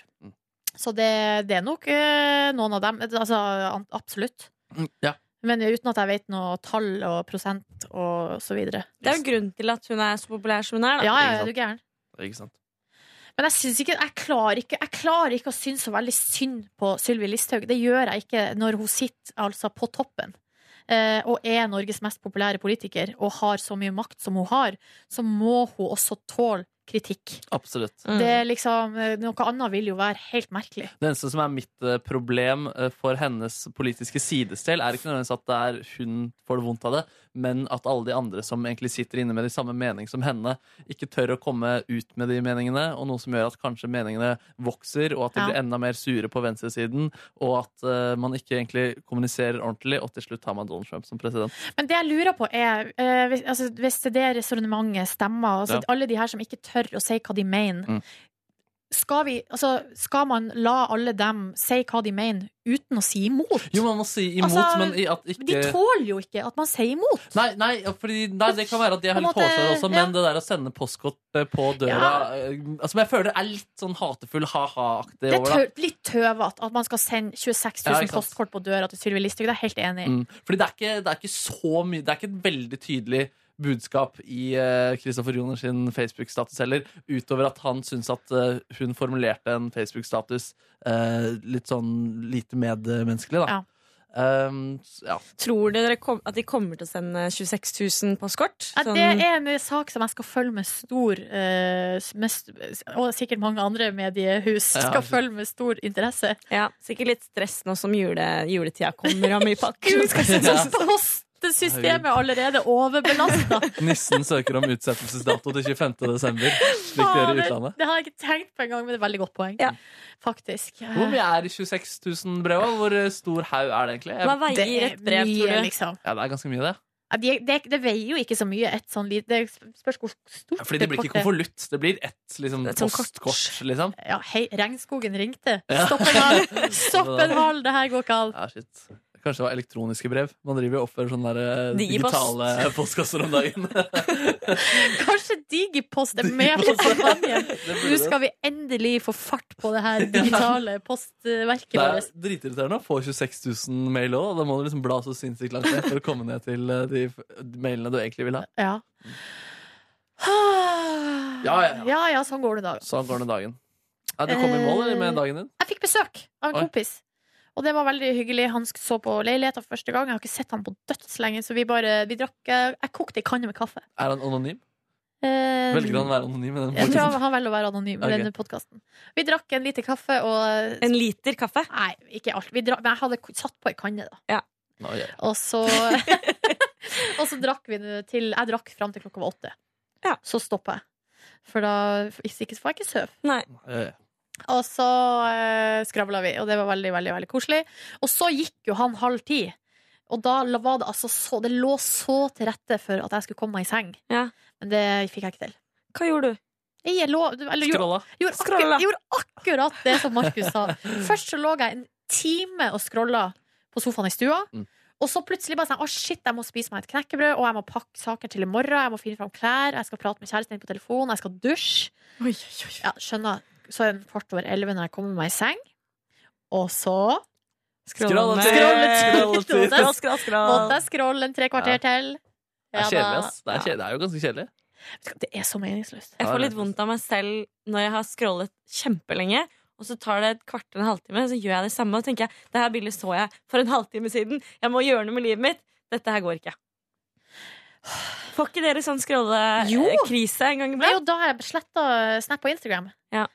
Så det, det er nok eh, noen av dem. Altså an- absolutt. Mm, Ja. Men uten at jeg vet noe tall og prosent og så videre. Det er jo grunnen til at hun er så populær som hun er. Da. Ja, ja, er du gæren. Ikke sant? Men jeg, syns ikke, jeg, klarer ikke, jeg klarer ikke å synes så veldig synd på Sylvi Listhaug. Det gjør jeg ikke når hun sitter altså, på toppen eh, og er Norges mest populære politiker og har så mye makt som hun har. Så må hun også tåle kritikk. Absolutt. Mm. Det er liksom, eh, noe annet vil jo være helt merkelig. Det eneste som er mitt eh, problem eh, for hennes politiske sidestel, er ikke nødvendigvis at det er hun får det vondt av det, men at alle de andre som egentlig sitter inne med de samme mening som henne, ikke tør å komme ut med de meningene, og noe som gjør at kanskje meningene vokser, og at de Ja. blir enda mer sure på venstresiden, og at eh, man ikke egentlig kommuniserer ordentlig, og til slutt har man Donald Trump som president. Men det jeg lurer på er, eh, hvis, altså, hvis det er det resonnementet stemmer, altså, Ja. alle de her som ikke tør å si hva de mener, Mm. skal, vi, altså, skal man la alle dem si hva de mener, uten å si imot? Jo, man må si imot, Altså, men i at ikke De tåler jo ikke at man sier imot. Nei, nei, fordi, nei, det kan være at de er På en litt måte, hårsåre også, men ja. det der å sende postkort eh, på døra Ja. eh, Som jeg føler er litt sånn hatefull ha-ha-aktig Det er over det. tø litt tøvete at man skal sende 26 Ja, 000 ikke sant. postkort på døra til Sylvi Listhaug. Det er jeg helt enig i. Mm. Fordi det er, ikke, det er ikke så mye Det er ikke et veldig tydelig budskap i Kristoffer Joner sin Facebook-status heller, utover at han syns at eh, hun formulerte en Facebook-status eh, litt sånn lite medmenneskelig, da. Um, s- ja. Tror dere kom, at de kommer til å sende 26 000 postkort? Ja, Sånn- det er en sak som jeg skal følge med stor eh, s- med, s- Og sikkert mange andre mediehus Ja, skal absolutt. følge med stor interesse. Ja, sikkert litt stress nå som jule, juletida kommer og mye pakker. som skal sendes. Gud, Postesystemet er allerede overbelasta. Nissen søker om utsettelsesdato til 25. desember, slik de gjør i utlandet. Det har jeg ikke tenkt på engang, men det er veldig godt poeng. Faktisk. Hvor mye er 26 000 brev? og Hvor eh, stor haug er det egentlig? Jeg- Hva veier Det er et brev, mye, tror du? liksom. Ja, det er ganske mye, det. Ja, de- Det det veier jo ikke så mye, et sånn lite Det spørs hvor stort Fordi det blir ikke kortet- konvolutt. Det blir ett liksom, Et sånn kort. postkort, liksom. Ja, hei, regnskogen ringte. Ja. Stopp en hal! Stopp en hal, det her går ikke an. Ja, shit. Kanskje det var elektroniske brev. Man driver jo og oppfører sånne der, eh, Digipost. digitale postkasser om dagen. Kanskje Digipost er med på kampanjen? Nå skal vi endelig få fart på det her digitale postverket Det er vårt. dritirriterende å få 26 000 mail òg. Da må du liksom bla så sinnssykt langt ned for å komme ned til eh, de f- mailene du egentlig vil ha. Ja. Ja, ja, ja. ja, ja, sånn går det da. Sånn går det dagen. Ja, du kom i mål eller, med dagen din? Jeg fikk besøk av en Oi. kompis. Og det var veldig hyggelig. Han sk- så på leiligheta for første gang. Jeg har ikke sett han på dødslenge, så vi bare vi drakk Jeg, jeg kokte ei kanne med kaffe. Er han anonym? Eh, Velger han å være anonym? i den Jeg tror podcasten? han velger å være anonym i Ok. denne podkasten. Vi drakk en liter kaffe og En liter kaffe? Nei, ikke alt. Vi drakk, men jeg hadde k- satt på ei kanne, da. Nå, ja. Og så Og så drakk vi det til Jeg drakk fram til klokka var åtte. Så stoppa jeg. For da hvis ikke så får jeg ikke sove. Ja, ja. Og så eh, skravla vi, og det var veldig, veldig, veldig koselig. Og så gikk jo han halv ti. Og da la- var det altså så Det lå så til rette for at jeg skulle komme meg i seng. Men det fikk jeg ikke til. Hva gjorde du? Jeg lå eller, gjorde, Scrolla. gjorde, akkurat, Scrolla. gjorde akkurat det som Markus sa. Først så lå jeg en time og scrolla på sofaen i stua. Mm. Og så plutselig bare sånn, å shit, jeg må spise meg et knekkebrød, og jeg må pakke saker til i morgen, jeg må finne fram klær, jeg skal prate med kjæresten min på telefon, jeg skal dusje. Ja, skjønner. Så er det kvart over elleve når jeg kommer meg i seng. Og så Scroll Scroll- til- scroll til- Scroll, scroll, scroll. Måtte jeg scrolle en tre kvarter Ja. til. Det Ja da. er kjedelig, ass. Det er, kjedelig. Det er jo ganske kjedelig. Det er så meningsløst. Jeg får litt vondt av meg selv når jeg har scrollet kjempelenge. Og så tar det et kvarter en halvtime, så gjør jeg det samme. Og tenker jeg, det her bildet så jeg for en halvtime siden. Jeg må gjøre noe med livet mitt. Dette her går ikke. Får ikke dere sånn scrollekrise en gang Det er jo da jeg sletta Snap og Instagram.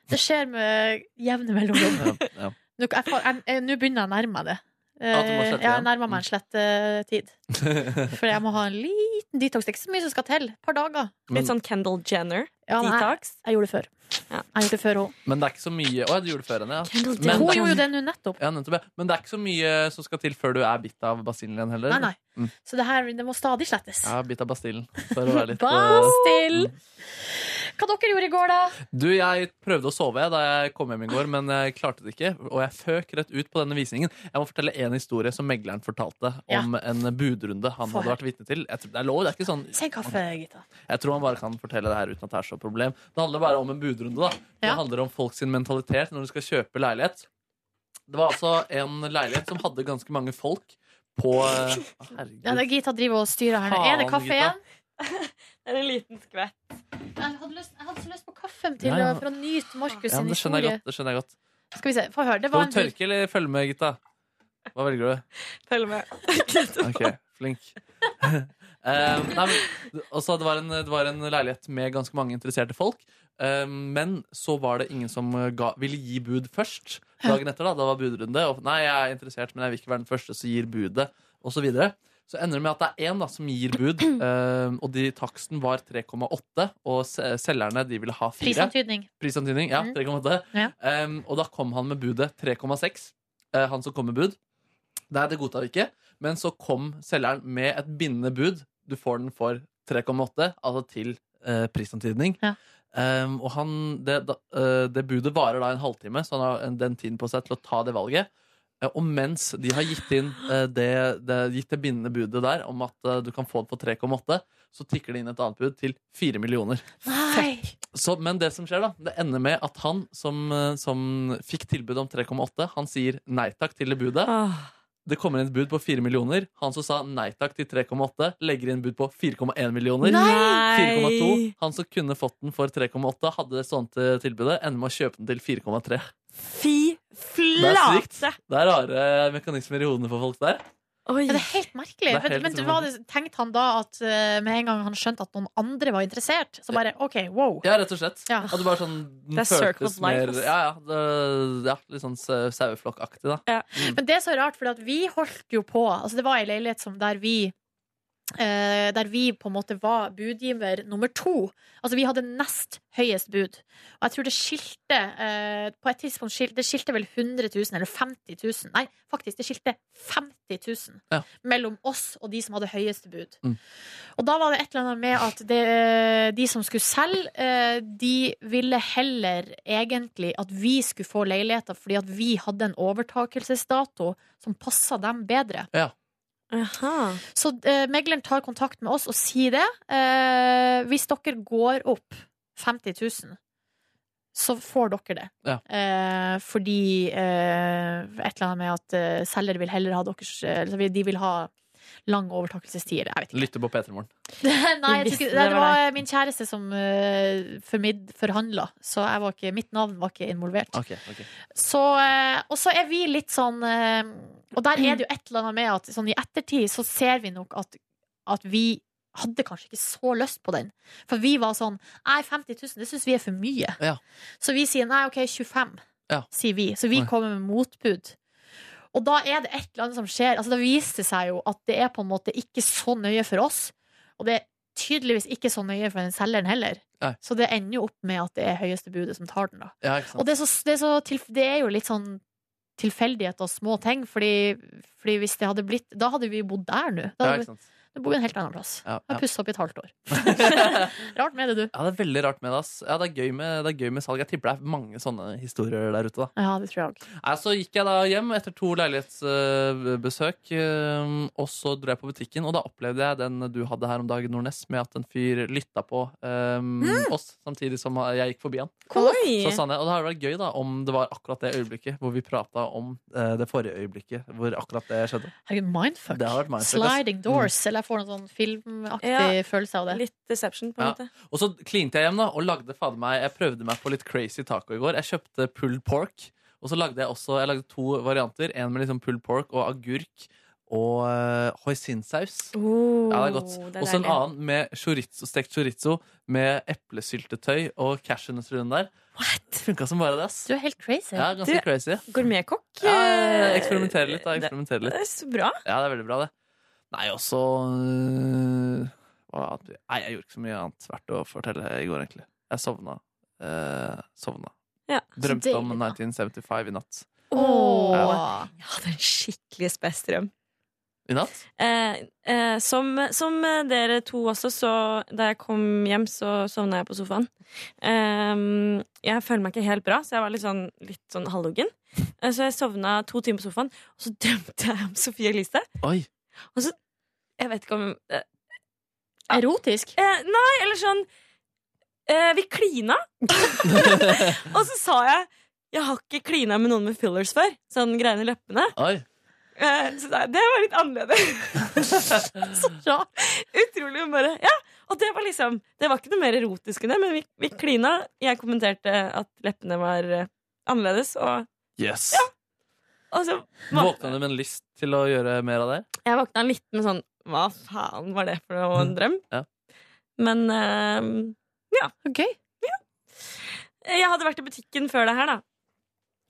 Det skjer med jevne mellomrom. ja. Nå jeg får- jeg- jeg- eh, nå begynner jeg å nærme meg det. Ja, du må Eh, slette Jeg igjen. nærmer meg en slettetid. For jeg må ha en liten detox. Det er ikke så mye som skal til. Et par dager. Men- Litt sånn Kendal Jenner. Ja, men jeg, detox. jeg gjorde det før. Jeg gjorde det før òg. Men det er ikke så mye Å, ja, du gjorde det før henne, ja. Kendall Men, Hun gjorde jo det nå nettopp. Ja, nettopp, ja. Men det er ikke så mye som skal til før du er bitt av basillen igjen, heller? Nei, nei. Mm. Så det her det må stadig slettes. Ja, bitt av basillen. For å være litt eh, Bastill! Hva dere gjorde i går, da? Du, jeg prøvde å sove da jeg kom hjem i går, men jeg klarte det ikke. Og jeg føk rett ut på denne visningen. Jeg må fortelle en historie som megleren fortalte om en budrunde han Få hadde vært vitne til. Jeg tror, det er lov, det er ikke sånn Si en kaffe, Gita. Jeg tror han bare kan fortelle det her uten at det er så problem. Det handler bare om en budrunde, da. Det Ja. handler om folks mentalitet når du skal kjøpe leilighet. Det var altså en leilighet som hadde ganske mange folk på Å, Herregud. Ja, det er Gita driver og styrer her nå. Er det Faen, kaffe Gita. igjen? Det er en liten skvett. Jeg hadde, lyst, jeg hadde så lyst på kaffen til Ja, ja. å- for å nyte Markus Ja, sin men det skjønner jeg historie. godt. Det skjønner jeg godt. Skal vi se, få høre. Det var Skal en du bud- tørke eller følge med, gutta? Hva velger du? Følg med. Ok, flink. um, nei, men, altså, det, var en, det var en leilighet med ganske mange interesserte folk. Um, men så var det ingen som ga, ville gi bud først. Dagen etter da, da var budrunde. Og, nei, jeg er interessert, men jeg vil ikke være den første som gir budet. Og så, videre. så ender det med at det er én da, som gir bud, um, og de taksten var 3,8. Og se- selgerne de ville ha 4. Prisantydning. Prisantydning, ja, Mm. 3,8. Ja. Um, og da kom han med budet 3,6. eh, han som kom med bud. Nei, det godtar vi ikke. Men så kom selgeren med et bindende bud. Du får den for 3,8, altså til eh, prisantydning. Um, og han, det, da, eh, det budet varer da en halvtime, så han har en- den tiden på seg til å ta det valget. Eh, Og mens de har gitt inn eh, det, det, gitt det bindende budet der om at eh, du kan få det for 3,8, så tikker det inn et annet bud til 4 millioner. Nei! Så, men det som skjer da, det ender med at han som, eh, som fikk tilbud om 3,8, han sier nei takk til det budet. Det kommer inn et bud på 4 millioner. Han som sa nei takk til 3,8, legger inn bud på 4,1 millioner. Nei! 4,2. Han som kunne fått den for 3,8, hadde det sånt eh, tilbudet, ender med å kjøpe den til 4,3. Fy Det er sykt. flate! Det er rare mekanismer i hodene for folk der. Ja, det er helt merkelig. Det er Men- helt men utrolig. var det, tenkte han da at eh, med en gang han skjønte at noen andre var interessert, så bare OK, wow. Ja, rett og slett. At det bare sånn Det er circle of life, ass. Ja, ja, det, ja, litt sånn sau- saueflokkaktig, da. Men det er så rart, for vi holdt jo på altså Det var ei leilighet som der vi eh, der vi på en måte var budgiver nummer to. Altså vi hadde nest høyest bud. Og jeg tror det skilte eh, på et tidspunkt skil- det skilte vel 100 000 eller 50 000. Nei, faktisk, det skilte 50 000 Ja. mellom oss og de som hadde høyeste bud. Mm. Og da var det et eller annet med at det, de som skulle selge, eh, de ville heller egentlig at vi skulle få leiligheter fordi at vi hadde en overtakelsesdato som passa dem bedre. Ja. Så eh, megleren tar kontakt med oss og sier det. Eh, hvis dere går opp 50 000, så får dere det. Ja. Eh, fordi eh, et eller annet med at eh, selger vil heller ha deres eh, eller De vil ha lang overtakelsestid. Jeg vet ikke. Lytte på P3 Morgen. Nei, jeg tror Hvis ikke, det det, var var min kjæreste som uh, forhandla, så jeg var ikke, mitt navn var ikke involvert. Ok, ok. Så, eh, og så er vi litt sånn eh, Og der er det jo et eller annet med at sånn i ettertid så ser vi nok at, at vi hadde kanskje ikke så lyst på den. For vi var sånn Nei, 50 000, det syns vi er for mye. Ja. Så vi sier nei, OK, 25, Ja. sier vi. Så vi Nei. kommer med motbud. Og da er det et eller annet som skjer. Altså, det viste seg jo at det er på en måte ikke så nøye for oss. Og det er tydeligvis ikke så nøye for den selgeren heller. Nei. Så det ender jo opp med at det er høyeste budet som tar den, da. Ja, ikke sant? Og det er, så, det, er så tilf- det er jo litt sånn tilfeldighet og små ting, fordi, fordi hvis det hadde blitt Da hadde vi bodd der nå. Da Ja, hadde vi- ikke sant? da bor vi en helt annen plass. Ja, Har ja. pussa opp i et halvt år. Rart med det, du. Ja, det er veldig rart med det. ass. Ja, det, er gøy med, det er gøy med salg. Jeg tipper det er mange sånne historier der ute. da. Ja, det tror jeg òg. Nei, så gikk jeg da hjem etter to leilighetsbesøk, eh, og så dro jeg på butikken, og da opplevde jeg den du hadde her om dagen, Nordnes, med at en fyr lytta på eh, oss samtidig som jeg gikk forbi han. Oi. Så sa han det, og det hadde vært gøy da, om det var akkurat det øyeblikket hvor vi prata om eh, det forrige øyeblikket hvor akkurat det skjedde. Herregud, mindfuck. Det hadde vært mindfuck, ass. Mm. Sliding doors. Eller jeg får noen sånn filmaktig Ja, følelse av det. Litt deception, Ja. Og så klinte jeg hjem da, og lagde fader meg Jeg prøvde meg på litt crazy taco i går. Jeg kjøpte pulled pork. Og så lagde jeg også jeg lagde to varianter. En med liksom pulled pork og agurk og uh, hoisinsaus. ja, det er godt. det er Og så en deilig. annen med chorizo, stekt chorizo med eplesyltetøy og cashewnøtter i den der. What? Funka som bare det, ass. Du er helt crazy. Ja, ganske Du- crazy. Gourmetkokk. Ja, jeg eksperimenterer litt, da. jeg Eksperimenterer litt. Det er så bra. Ja, det er veldig bra, det. Nei, og så øh, hva- Nei, jeg gjorde ikke så mye annet verdt å fortelle i går, egentlig. Jeg sovna. Eh, sovna. Ja. Drømte Så om deilig, 1975 i natt. Åh. Ja. Jeg hadde en skikkelig spessdrøm. I natt? Eh, eh, som, som eh, dere to også, så da jeg kom hjem, så sovna jeg på sofaen. Ehm, jeg føler meg ikke helt bra, så jeg var litt sånn, litt sånn halvluggen. Eh, så jeg sovna to timer på sofaen, og så drømte jeg om Sofie Elise. Oi. Og så Jeg vet ikke om eh, Erotisk? Eh, nei, eller sånn eh, Vi klina. og så sa jeg Jeg har ikke klina med noen med fillers før. Sånn greiene i leppene. Oi. Eh, så det, det var litt annerledes. så rart. Utrolig. hun Bare, ja. Og det var liksom Det var ikke noe mer erotisk enn det, men vi, vi klina. Jeg kommenterte at leppene var eh, annerledes, og, Yes. og så Våkna du med en lyst til å gjøre mer av det? Jeg våkna litt med sånn Hva faen var det for noe en drøm? Ja. Men eh, ja. Okay. ja. Jeg hadde vært i butikken før det her, da.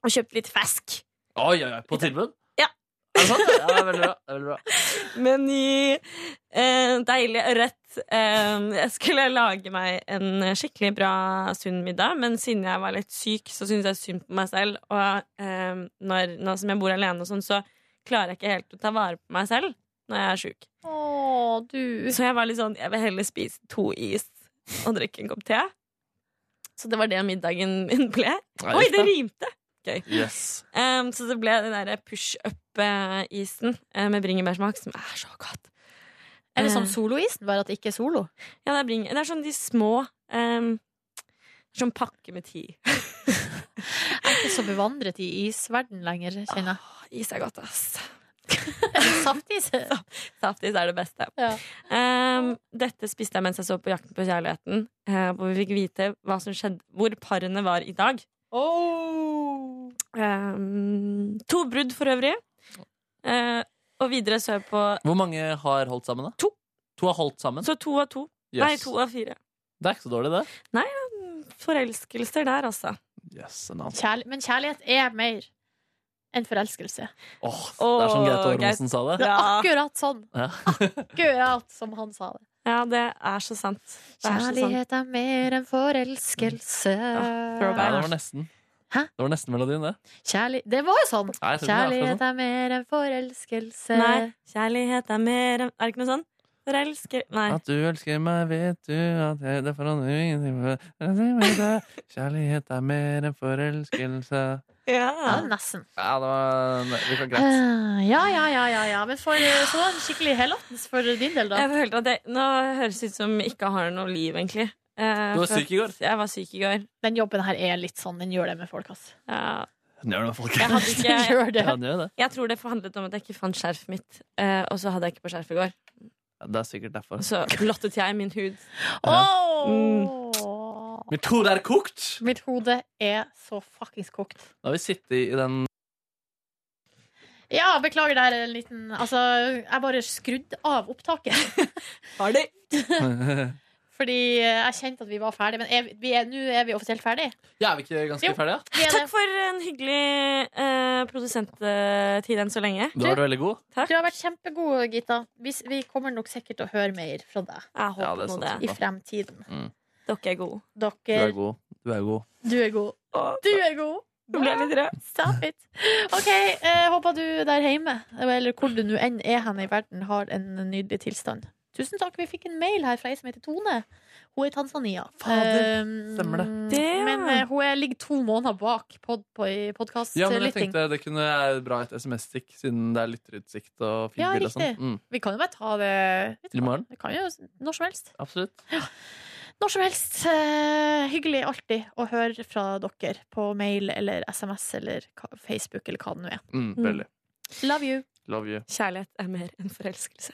Og kjøpt litt fersk. Oi, oi, oi. På tilbud? Ja. Er det sant? Ja, det er veldig bra. Det er veldig bra. Meny. Eh, deilig ørret. Eh, jeg skulle lage meg en skikkelig bra sunn middag, men siden jeg var litt syk, så syns jeg synd på meg selv. Og eh, når, nå som jeg bor alene, og sånn, så klarer jeg ikke helt å ta vare på meg selv når jeg er sjuk. Åh, du. Så jeg var litt sånn Jeg vil heller spise to is og drikke en kopp te. Så det var det middagen min ble. Nei, Oi, just det det. rimte! Gøy. Yes. Um, så det ble den derre push up-isen eh, med bringebærsmak, som er så godt. Eller Mm. som soloisen, bare at det ikke er solo. Ja, det er, bringe, det er sånn de små um, Sånn pakke med ti. Jeg er ikke så bevandret i isverden lenger, kjenner jeg. is er godt, ass. Saftis. Saftis er det beste. Um, dette spiste jeg mens jeg så på Jakten på kjærligheten, eh, hvor vi fikk vite hva som skjedde, hvor parene var i dag. Um, to brudd for øvrig. Eh, og videre så jeg på Hvor mange har holdt sammen, da? To. To har holdt sammen? Så to av to. Yes. Nei, to av fire. Det er ikke så dårlig, det. Nei, forelskelser der, altså. Yes, en annen. Kjærl men kjærlighet er mer enn forelskelse. Åh, det er som Gaute Ormsen sa det. Det er akkurat sånn. Ja. Akkurat som han sa det. Ja, det er så sant. Det er så sant. Kjærlighet er mer enn forelskelse. Nei, det var nesten. Det var nesten melodien, det. Kjærli det var jo sånn! Nei, jeg tror ikke det er akkurat Kjærlighet er mer enn forelskelse. Nei, kjærlighet er mer enn Er det ikke noe sånn? Forelsker Nei. At du elsker meg, vet du at jeg, Det forandrer jo ingenting for deg. Kjærlighet er mer enn forelskelse. Ja, nesten. Ja, det var det var greit. Eh, Ja, ja, ja, ja, ja. Men for, eh, så var det skikkelig hellattens for din del, da. Jeg følte at jeg, nå høres det ut som jeg ikke har noe liv, egentlig. Eh, Du var for syk i går. at Jeg var syk i går. Den jobben her er litt sånn. Den gjør det med folk, ass. Ja. Den gjør det, folk. Jeg, hadde ikke, Den gjør det. Ja, den jeg tror det handlet om at jeg ikke fant skjerfet mitt, eh, og så hadde jeg ikke på skjerf i går. Det er sikkert derfor. Og Altså. så blottet jeg min hud. Mitt hode er kokt! Mitt hode er så fuckings kokt. Da har vi sittet i den Ja, beklager det her en liten Altså, jeg bare skrudde av opptaket. Ferdig! Ja, Fordi eh, jeg kjente at vi var ferdige. Men er, vi- vi er- nå er vi offisielt ferdige. er vi ikke ganske ferdige? ja? Takk for en hyggelig eh, produsenttid enn så lenge. Du har vært veldig god. Du har vært kjempegod, Gita. Vi, s- vi kommer nok sikkert til å høre mer fra deg. Jeg Ja, det er nå sant, det. I fremtiden. Mm. Dere er gode. Du er Dere god. Du er god. Du er god. Du er god. Stop it. OK, eh, håper du der hjemme, eller hvor du nå enn er hen i verden, har en nydelig tilstand. Tusen takk. Vi fikk en mail her fra ei som heter Tone. Hun er i Tanzania. Fader, Eh, stemmer det. Det, ja. Men eh, hun er, ligger to måneder bak pod, på, i Ja, men jeg podkastlytting. tenkte det kunne være bra et SMS-stikk, siden det er lytterutsikt og fint Ja, bilde og riktig. sånn. Mm. Vi kan jo bare ta det I morgen. Vi kan jo når som helst. Absolutt. Når som helst. Eh, hyggelig alltid å høre fra dere på mail eller SMS eller ka- Facebook eller hva det nå er. Mm, veldig. Love you. Love you. Kjærlighet er mer enn forelskelse.